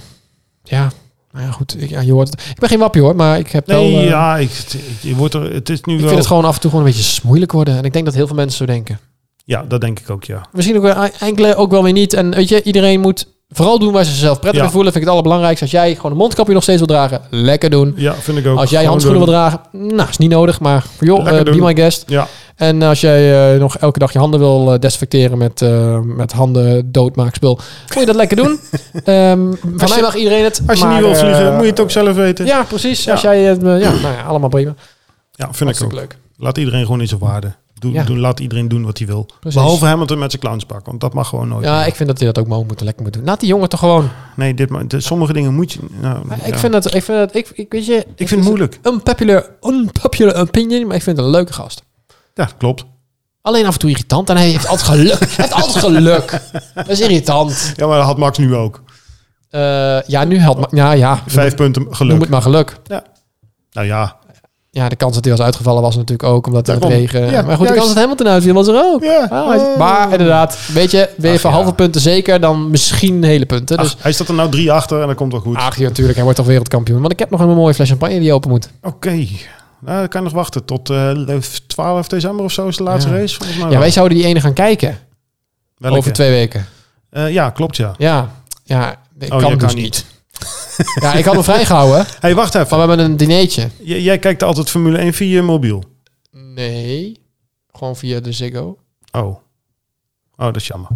Speaker 1: Ja, nou ja, goed. Ik, ja, je hoort het. ik ben geen wappie hoor, maar ik heb
Speaker 2: Nee,
Speaker 1: wel... eh,
Speaker 2: ja, ik, ik- je wordt er, het is nu
Speaker 1: ik
Speaker 2: wel.
Speaker 1: vind het gewoon af en toe gewoon een beetje moeilijk worden. En ik denk dat heel veel mensen zo denken.
Speaker 2: Ja, dat denk ik ook, ja.
Speaker 1: Misschien ook wel eh, enkele, ook wel weer niet. En weet je, iedereen moet vooral doen waar ze zichzelf prettig
Speaker 2: Ja.
Speaker 1: bij voelen. Vind ik het allerbelangrijkste. Als jij gewoon een mondkapje nog steeds wil dragen, lekker doen.
Speaker 2: Ja, vind ik ook.
Speaker 1: Als jij
Speaker 2: Gewoon
Speaker 1: handschoenen wil
Speaker 2: doen.
Speaker 1: dragen, nou, is niet nodig. Maar joh,
Speaker 2: Lekker
Speaker 1: eh, be
Speaker 2: doen.
Speaker 1: my guest.
Speaker 2: Ja,
Speaker 1: En als jij eh, nog elke dag je handen wil eh, desinfecteren met, eh, met handen doodmaakspul, moet je dat lekker doen. Ehm van
Speaker 2: Als
Speaker 1: mij
Speaker 2: je-
Speaker 1: mag iedereen het.
Speaker 2: als je
Speaker 1: maar,
Speaker 2: niet wil vliegen,
Speaker 1: eh,
Speaker 2: moet je het ook zelf weten. Ja,
Speaker 1: Ja, precies.
Speaker 2: Ja.
Speaker 1: Als jij, het, eh, ja, nou ja, allemaal prima.
Speaker 2: vind ik ook.
Speaker 1: Hartstikke leuk.
Speaker 2: Laat iedereen gewoon in zijn waarde. Doe,
Speaker 1: Ja.
Speaker 2: doe- laat iedereen doen wat hij wil.
Speaker 1: Precies.
Speaker 2: Behalve Hamilton met zijn clownspak, want dat mag gewoon nooit.
Speaker 1: Ja, ik vind dat hij dat ook mogen moeten lekker moet doen. Laat die jongen toch gewoon.
Speaker 2: Nee, dit, ma- dit- sommige dingen moet je. nou,
Speaker 1: Maar Ik
Speaker 2: ja.
Speaker 1: vind dat, ik vind dat, ik, ik weet je,
Speaker 2: ik vind het moeilijk.
Speaker 1: unpopular, unpopular opinion, maar ik vind het een leuke gast.
Speaker 2: Ja, klopt.
Speaker 1: Alleen af en toe irritant en hij heeft altijd geluk. hij heeft altijd geluk. Dat is irritant.
Speaker 2: Ja, maar dat had Max nu ook.
Speaker 1: Eh, ja, nu helpt. Ma- Ja, ja. Noem
Speaker 2: Vijf punten
Speaker 1: het- Noem
Speaker 2: geluk.
Speaker 1: het maar geluk.
Speaker 2: Nou ja.
Speaker 1: Ja, de kans dat hij was uitgevallen was natuurlijk ook omdat het
Speaker 2: Daarom.
Speaker 1: regen.
Speaker 2: Ja,
Speaker 1: maar goed, de
Speaker 2: juist.
Speaker 1: kans dat Hamilton uitviel was er ook.
Speaker 2: ja.
Speaker 1: Ah, hij- maar inderdaad, weet je, ben je
Speaker 2: Ach,
Speaker 1: van
Speaker 2: ja.
Speaker 1: halve punten zeker dan misschien hele punten. Dus
Speaker 2: Ach, hij staat er nou drie achter en dat komt wel goed.
Speaker 1: Ach, ja, natuurlijk. Hij wordt toch wereldkampioen. Want ik heb nog een mooie fles champagne die open moet.
Speaker 2: Oké. Nou, dan kan je nog wachten tot eh, 12 december of zo is de laatste
Speaker 1: Ja.
Speaker 2: race. Volgens mij
Speaker 1: Ja,
Speaker 2: wel.
Speaker 1: wij zouden die ene gaan kijken.
Speaker 2: Oh. Welke?
Speaker 1: Over twee weken.
Speaker 2: Eh, ja, klopt ja.
Speaker 1: Ja. Ja, ik
Speaker 2: Oh,
Speaker 1: kan
Speaker 2: jij
Speaker 1: het dus
Speaker 2: kan
Speaker 1: niet. Ja, ik had hem vrijgehouden.
Speaker 2: Hé, hey, wacht even.
Speaker 1: Van, we hebben een dineetje.
Speaker 2: J- jij kijkt altijd Formule 1 via je mobiel.
Speaker 1: Nee. Gewoon via de Ziggo.
Speaker 2: Oh. Oh, dat is jammer.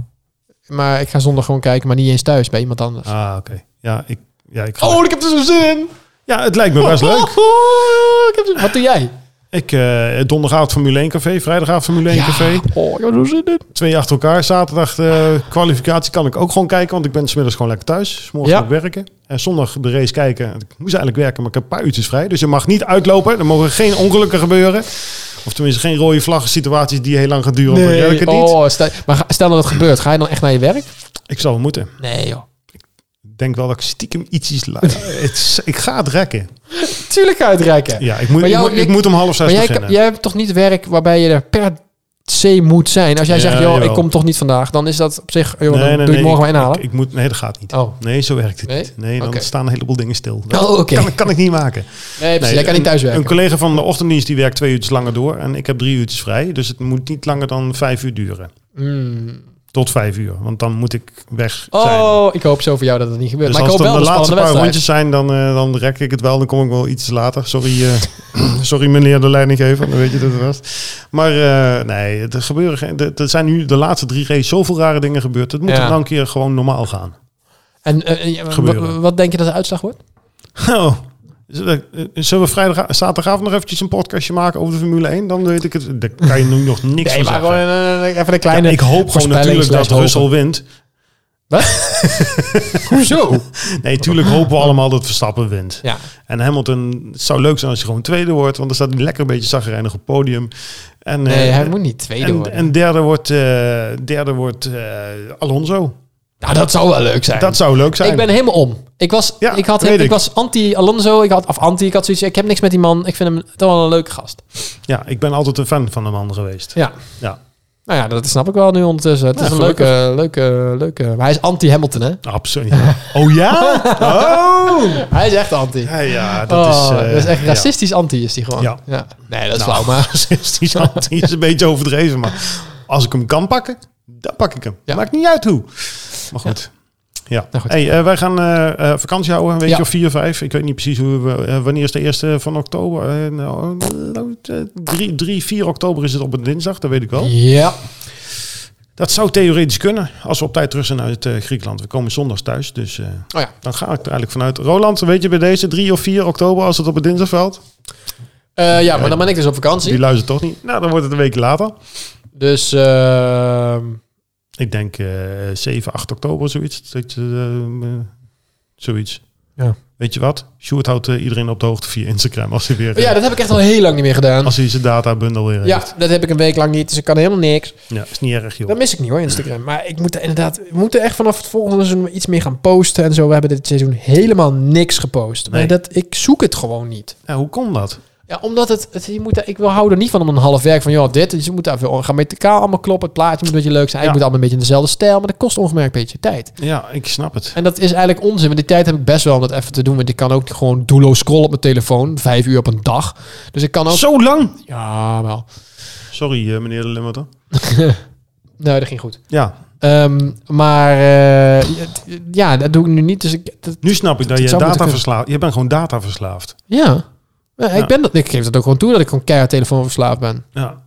Speaker 1: Maar ik ga zondag gewoon kijken, maar niet eens thuis bij iemand anders.
Speaker 2: Ah, oké. Ja, ik, ja, ik ga...
Speaker 1: Oh, ik heb er zo zin in.
Speaker 2: Ja, het
Speaker 1: Oh,
Speaker 2: lijkt me best Ah. leuk.
Speaker 1: Ik heb er- Wat doe jij?
Speaker 2: Ik, eh, donderdagavond Formule 1 Café, vrijdagavond Formule 1 Café.
Speaker 1: Oh, ik heb er zo zin in.
Speaker 2: Twee achter elkaar. Zaterdag de kwalificatie kan ik ook gewoon kijken, want ik ben smiddags gewoon lekker thuis. 's Morgen
Speaker 1: Ja.
Speaker 2: ook werken. En zondag de race kijken. Ik moest eigenlijk werken, maar ik heb een paar uurtjes vrij. Dus je mag niet uitlopen. Er mogen geen ongelukken gebeuren. Of tenminste geen rode vlaggen situaties die heel lang gaan duren. want dan werk ik het niet.
Speaker 1: Oh, stel, maar ga- stel dat het gebeurt. Ga je dan echt naar je werk?
Speaker 2: Ik zal moeten.
Speaker 1: Nee, joh.
Speaker 2: Ik denk wel dat ik stiekem ietsjes laat. Het is- ik ga het rekken.
Speaker 1: Tuurlijk ga je het rekken.
Speaker 2: Ja, ik moet,
Speaker 1: Maar jou-
Speaker 2: ik, moet, ik
Speaker 1: ik-
Speaker 2: moet om half
Speaker 1: Maar
Speaker 2: zes
Speaker 1: jij,
Speaker 2: beginnen.
Speaker 1: jij hebt toch niet werk waarbij je er per se moet zijn? Als jij
Speaker 2: Ja,
Speaker 1: zegt, joh, ik
Speaker 2: jawel.
Speaker 1: kom toch niet vandaag, dan is dat op zich, joh, dan doe ik morgen
Speaker 2: ik,
Speaker 1: maar inhalen.
Speaker 2: Ik, ik moet, nee, dat gaat niet.
Speaker 1: Oh.
Speaker 2: Nee, zo werkt het
Speaker 1: Nee?
Speaker 2: niet. Nee, dan
Speaker 1: Oké.
Speaker 2: staan een heleboel dingen stil. Dat
Speaker 1: Oh, oké.
Speaker 2: kan, kan ik niet maken.
Speaker 1: nee, precies, jij kan
Speaker 2: een-
Speaker 1: niet thuiswerken.
Speaker 2: Een collega van de ochtenddienst die werkt twee uurtjes langer door. En ik heb drie uurtjes vrij. Dus het moet niet langer dan vijf uur duren.
Speaker 1: Mm.
Speaker 2: Tot vijf uur. Want dan moet ik weg zijn.
Speaker 1: Oh, ik hoop zo voor jou dat het niet gebeurt.
Speaker 2: Dus
Speaker 1: maar ik
Speaker 2: als
Speaker 1: hoop
Speaker 2: het
Speaker 1: wel
Speaker 2: dan de
Speaker 1: een spannende
Speaker 2: laatste
Speaker 1: wedstrijd.
Speaker 2: paar rondjes zijn, dan, eh, dan rek ik het wel. Dan kom ik wel iets later. Sorry, eh, sorry meneer de leidinggever, dan weet je dat het was. Maar eh, nee, er, gebeuren, geen- er- er zijn nu de laatste drie races zoveel rare dingen gebeurd. Het moet
Speaker 1: Ja.
Speaker 2: dan een keer gewoon normaal gaan.
Speaker 1: En eh, eh, ja, w-
Speaker 2: Gebeuren.
Speaker 1: w- wat denk je dat de uitslag wordt?
Speaker 2: Oh. Zullen eh, zullen we vrijdag, zaterdagavond nog eventjes een podcastje maken over de Formule 1? Dan weet ik het. Daar kan je nu nog niks
Speaker 1: Nee,
Speaker 2: van
Speaker 1: maar
Speaker 2: zeggen.
Speaker 1: gewoon eh, even een
Speaker 2: Ja,
Speaker 1: kleine...
Speaker 2: ik hoop gewoon
Speaker 1: voorspelling
Speaker 2: natuurlijk dat
Speaker 1: slash hopen.
Speaker 2: Russell wint.
Speaker 1: Hoezo?
Speaker 2: Nee, tuurlijk hopen we allemaal dat Verstappen wint.
Speaker 1: ja.
Speaker 2: En Hamilton, het zou leuk zijn als je gewoon tweede wordt, want dan staat hij lekker een beetje zagrijnig op het podium. En,
Speaker 1: Nee,
Speaker 2: eh,
Speaker 1: hij moet niet tweede
Speaker 2: en,
Speaker 1: worden.
Speaker 2: en derde wordt, eh, derde wordt eh, Alonso.
Speaker 1: Nou, dat zou wel leuk zijn.
Speaker 2: Dat zou leuk zijn.
Speaker 1: Ik ben helemaal om. Ik was,
Speaker 2: Ja,
Speaker 1: ik had,
Speaker 2: weet
Speaker 1: ik,
Speaker 2: ik.
Speaker 1: was anti-Alonso. Ik had, of anti, ik had zoiets. Ik heb niks met die man. Ik vind hem toch wel een leuke gast.
Speaker 2: Ja, ik ben altijd een fan van een man geweest.
Speaker 1: Ja.
Speaker 2: Ja.
Speaker 1: Nou ja, dat snap ik wel nu ondertussen. Het
Speaker 2: Ja,
Speaker 1: is een
Speaker 2: gelukkig.
Speaker 1: leuke, leuke, leuke. Maar hij is anti-Hamilton, hè?
Speaker 2: Absoluut. ja. Oh ja? Oh!
Speaker 1: Hij is echt anti.
Speaker 2: Ja, ja dat
Speaker 1: Oh, Dat,
Speaker 2: is...
Speaker 1: is,
Speaker 2: eh,
Speaker 1: echt
Speaker 2: ja.
Speaker 1: racistisch anti is die gewoon.
Speaker 2: Ja.
Speaker 1: Nee, dat is
Speaker 2: Nou.
Speaker 1: flauw, maar...
Speaker 2: Racistisch anti is een beetje overdreven, maar als ik hem kan pakken, dan pak ik hem.
Speaker 1: Ja.
Speaker 2: Maakt niet uit hoe. Maar goed. Ja.
Speaker 1: Nou, goed.
Speaker 2: Hey, eh, wij gaan eh, eh, vakantie houden, een weekje
Speaker 1: Ja.
Speaker 2: of vier, vijf. Ik weet niet precies hoe we, eh, wanneer is de eerste van oktober. Eh, nou, eh, drie, drie, vier oktober is het op een dinsdag, dat weet ik wel.
Speaker 1: Ja.
Speaker 2: Dat zou theoretisch kunnen, als we op tijd terug zijn uit eh, Griekenland. We komen zondags thuis, dus eh,
Speaker 1: Oh ja.
Speaker 2: dan ga ik er eigenlijk vanuit. Roland, weet je bij deze 3 of 4 oktober, als het op een dinsdag valt?
Speaker 1: Eh, ja, maar dan ben ik dus op vakantie.
Speaker 2: Die luistert toch niet? Nou, dan wordt het een week later.
Speaker 1: Dus... ehm,
Speaker 2: Ik denk eh 7, 8 oktober, zoiets. Dat, je, eh, eh, zoiets.
Speaker 1: Ja.
Speaker 2: Weet je wat? Sjoerd houdt eh, iedereen op de hoogte via Instagram als hij weer... eh,
Speaker 1: ja, dat heb ik echt al heel lang niet meer gedaan.
Speaker 2: Als hij zijn databundel weer
Speaker 1: Ja,
Speaker 2: heeft.
Speaker 1: dat heb ik een week lang niet, dus ik kan helemaal niks.
Speaker 2: Ja, is niet erg, joh.
Speaker 1: Dat mis ik niet hoor, Instagram. Maar ik moet er inderdaad, we moeten echt vanaf het volgende seizoen iets meer gaan posten en zo. We hebben dit seizoen helemaal niks gepost.
Speaker 2: Nee.
Speaker 1: Maar dat, ik zoek het gewoon niet.
Speaker 2: Ja, hoe kon dat?
Speaker 1: Ja, omdat het, het- je moet, daar- ik wil houden niet van om een half werk van, joh, dit, dus je moet daar veel, gaan met elkaar allemaal kloppen, het plaatje moet een beetje leuk zijn,
Speaker 2: Ja.
Speaker 1: ik moet allemaal een beetje in dezelfde stijl, maar dat kost ongemerkt een beetje tijd.
Speaker 2: Ja, ik snap het.
Speaker 1: En dat is eigenlijk onzin, want die tijd heb ik best wel om dat even te doen, want ik kan ook gewoon doelloos scrollen op mijn telefoon, vijf uur op een dag. Dus ik kan ook...
Speaker 2: Zo lang!
Speaker 1: Ja, wel.
Speaker 2: Sorry, eh, meneer de Limmerter.
Speaker 1: Nee, dat ging goed.
Speaker 2: Ja,
Speaker 1: Ehm, maar eh, het- ja, dat doe ik nu niet. Dus ik, dat-
Speaker 2: nu snap ik dat,
Speaker 1: Het
Speaker 2: je
Speaker 1: zou moeten
Speaker 2: data
Speaker 1: kunnen.
Speaker 2: verslaafd... Je bent gewoon data verslaafd.
Speaker 1: ja. Ja,
Speaker 2: Ja.
Speaker 1: Ik, ben dat, ik geef dat ook gewoon toe dat ik gewoon keihard telefoonverslaafd ben.
Speaker 2: Ja.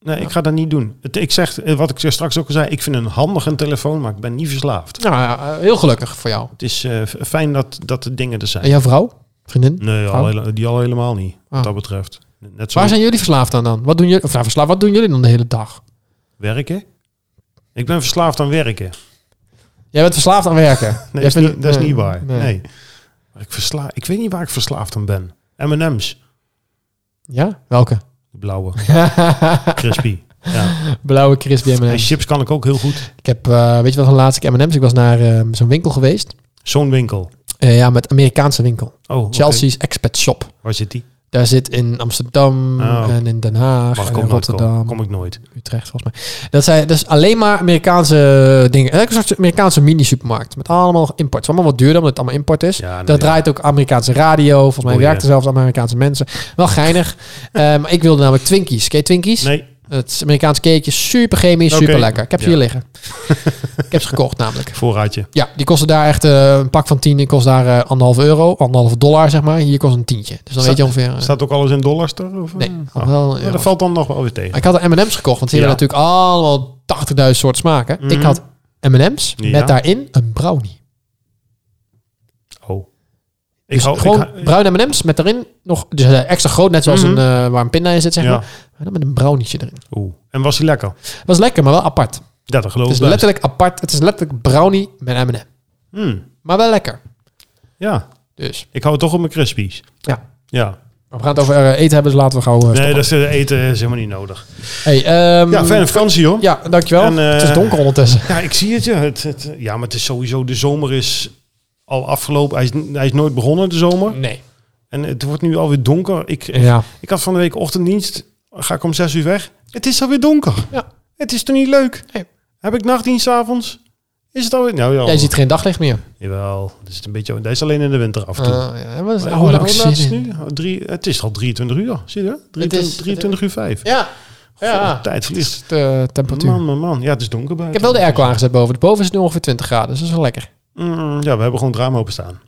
Speaker 2: Nee, ik ga dat niet doen. Het, ik zeg, eh, wat ik straks ook al zei, ik vind een handig een telefoon, maar ik ben niet verslaafd.
Speaker 1: Nou ja, eh, heel gelukkig voor jou.
Speaker 2: Het is eh, f- fijn dat, dat de dingen er zijn.
Speaker 1: En jouw vrouw? Vriendin?
Speaker 2: Nee, al hele- die al helemaal niet, wat
Speaker 1: Ah.
Speaker 2: dat betreft. Net zo
Speaker 1: Oh. Waar zijn jullie verslaafd aan dan? Wat doen jullie, of nou, verslaafd, wat doen jullie dan de hele dag?
Speaker 2: werken. Ik ben verslaafd aan werken.
Speaker 1: Jij bent verslaafd aan werken.
Speaker 2: Nee,
Speaker 1: Jij
Speaker 2: dat is,
Speaker 1: vindt-
Speaker 2: niet, dat is
Speaker 1: nee,
Speaker 2: niet waar. Nee.
Speaker 1: nee.
Speaker 2: Maar ik, versla, ik weet niet waar ik verslaafd aan ben. M&M's,
Speaker 1: Ja? Welke?
Speaker 2: de blauwe, crispy. Ja.
Speaker 1: Blauwe crispy
Speaker 2: En
Speaker 1: M&M's.
Speaker 2: chips kan ik ook heel goed.
Speaker 1: Ik heb, eh, weet je wat, van laatst ik M&M's. Ik was naar eh, zo'n winkel geweest.
Speaker 2: Zo'n winkel.
Speaker 1: Eh, ja, met Amerikaanse winkel.
Speaker 2: Oh, oké.
Speaker 1: Chelsea's Expat Shop.
Speaker 2: Waar zit die?
Speaker 1: Daar zit in Amsterdam
Speaker 2: Oh.
Speaker 1: en in Den Haag
Speaker 2: Mag ik
Speaker 1: en
Speaker 2: ook
Speaker 1: in
Speaker 2: nooit komen.
Speaker 1: Rotterdam.
Speaker 2: Kom ik nooit.
Speaker 1: Utrecht volgens mij. Dat zijn dus alleen maar Amerikaanse dingen. Eh, Eigenlijk Een soort Amerikaanse mini-supermarkt met allemaal import. Het is allemaal wat duurder omdat het allemaal import is.
Speaker 2: Ja, nou
Speaker 1: dat
Speaker 2: ja. Oh,
Speaker 1: draait ook Amerikaanse radio. Volgens mij
Speaker 2: Boeien.
Speaker 1: werkten zelfs Amerikaanse mensen. Wel geinig. Eh, maar ik wilde namelijk Twinkies. Ken je Twinkies?
Speaker 2: Nee,
Speaker 1: Het is Amerikaans cakejes. Super chemisch,
Speaker 2: Oké.
Speaker 1: super lekker. Ik heb ze
Speaker 2: Ja.
Speaker 1: hier liggen. ik heb ze gekocht namelijk.
Speaker 2: voorraadje.
Speaker 1: Ja, die kosten daar echt eh, een pak van 10. Die kost daar eh, anderhalf euro, anderhalf dollar zeg maar. Hier kost een tientje. Dus dan
Speaker 2: Staat-
Speaker 1: weet je ongeveer... eh,
Speaker 2: Staat ook alles in dollars er? Of, eh?
Speaker 1: nee,
Speaker 2: Oh.
Speaker 1: wel een
Speaker 2: Ja,
Speaker 1: euro.
Speaker 2: dat valt dan nog wel weer tegen.
Speaker 1: Ik had er M&M's gekocht, want die
Speaker 2: Ja.
Speaker 1: hebben natuurlijk allemaal 80.000 soorten smaken.
Speaker 2: Mhm.
Speaker 1: Ik had M&M's
Speaker 2: Ja.
Speaker 1: met daarin een brownie.
Speaker 2: Oh. Ik
Speaker 1: Dus
Speaker 2: hou ik
Speaker 1: gewoon
Speaker 2: hou-
Speaker 1: bruine M&M's met daarin nog dus hij extra groot, net zoals
Speaker 2: Mhm.
Speaker 1: een, eh, waar een pinda in zit, zeg
Speaker 2: Ja.
Speaker 1: maar. Maar dan met een brownietje erin.
Speaker 2: Oeh. En was hij lekker?
Speaker 1: Was lekker, maar wel apart.
Speaker 2: Ja, dat
Speaker 1: het
Speaker 2: geloof
Speaker 1: is
Speaker 2: ik best.
Speaker 1: letterlijk apart. Het is letterlijk brownie met M&M.
Speaker 2: Hmm.
Speaker 1: Maar wel lekker.
Speaker 2: Ja,
Speaker 1: Dus,
Speaker 2: ik hou toch op mijn crispies.
Speaker 1: ja.
Speaker 2: Ja.
Speaker 1: Maar we gaan het over eh, eten hebben, dus laten we gauw... eh,
Speaker 2: Nee,
Speaker 1: stoppen.
Speaker 2: dat is, eh, eten is helemaal niet nodig.
Speaker 1: Hey, ehm,
Speaker 2: Ja, fijne vakantie hoor.
Speaker 1: Ja, dankjewel.
Speaker 2: En, eh,
Speaker 1: het is donker ondertussen.
Speaker 2: Ja, ik zie het ja. Het, het- ja, maar het is sowieso, de zomer is al afgelopen. Hij is, hij is nooit begonnen, de zomer.
Speaker 1: Nee.
Speaker 2: En het wordt nu alweer donker. Ik,
Speaker 1: Ja.
Speaker 2: ik had van de week ochtenddienst, ga ik om zes uur weg. Het is alweer donker.
Speaker 1: Ja.
Speaker 2: Het is toch niet leuk?
Speaker 1: Nee.
Speaker 2: Heb ik nachtdienst avonds? Is het alweer? Nou ja,
Speaker 1: Jij ziet geen daglicht meer.
Speaker 2: jawel. Dat is, een beetje, dat is alleen in de winter af en toe.
Speaker 1: Ah, ja, maar dat is-
Speaker 2: Maar
Speaker 1: oh, daar heb ik
Speaker 2: hoe laat is
Speaker 1: zin
Speaker 2: het
Speaker 1: in.
Speaker 2: nu? Drie, het is al 23 uur, zie je? 23,
Speaker 1: is-
Speaker 2: 23 uur 5.
Speaker 1: Ja. Ja.
Speaker 2: tijd vliegt.
Speaker 1: is de temperatuur.
Speaker 2: Man, man, man. Ja, het is donker buiten.
Speaker 1: Ik heb wel de airco aangezet boven. Boven is het nu ongeveer 20 graden, dus dat is wel lekker.
Speaker 2: Mm, ja, we hebben gewoon het raam openstaan.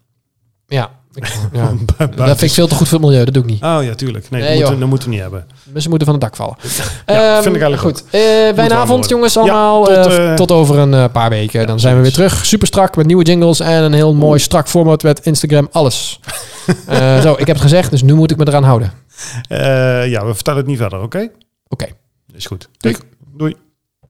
Speaker 1: Ja. Ik- ja.
Speaker 2: Buiten
Speaker 1: Dat vind ik veel te goed voor het milieu, dat doe ik niet.
Speaker 2: Oh ja, tuurlijk.
Speaker 1: Nee,
Speaker 2: Nee, dat, moeten,
Speaker 1: joh.
Speaker 2: dat moeten we niet hebben.
Speaker 1: Dus ze moeten van het dak vallen.
Speaker 2: Ja,
Speaker 1: Ehm,
Speaker 2: vind ik eigenlijk
Speaker 1: goed. Eh
Speaker 2: warm
Speaker 1: bijna avond,
Speaker 2: worden.
Speaker 1: jongens,
Speaker 2: Ja,
Speaker 1: allemaal.
Speaker 2: tot,
Speaker 1: Eh,
Speaker 2: eh,
Speaker 1: tot over een eh, paar weken. Dan zijn we weer terug. Super strak met nieuwe jingles en een heel mooi strak format met Instagram. Alles. Eh, zo, ik heb het gezegd, dus nu moet ik me eraan houden.
Speaker 2: Eh, ja, we vertellen het niet verder, oké?
Speaker 1: Oké.
Speaker 2: Is goed.
Speaker 1: Doei.
Speaker 2: Doei.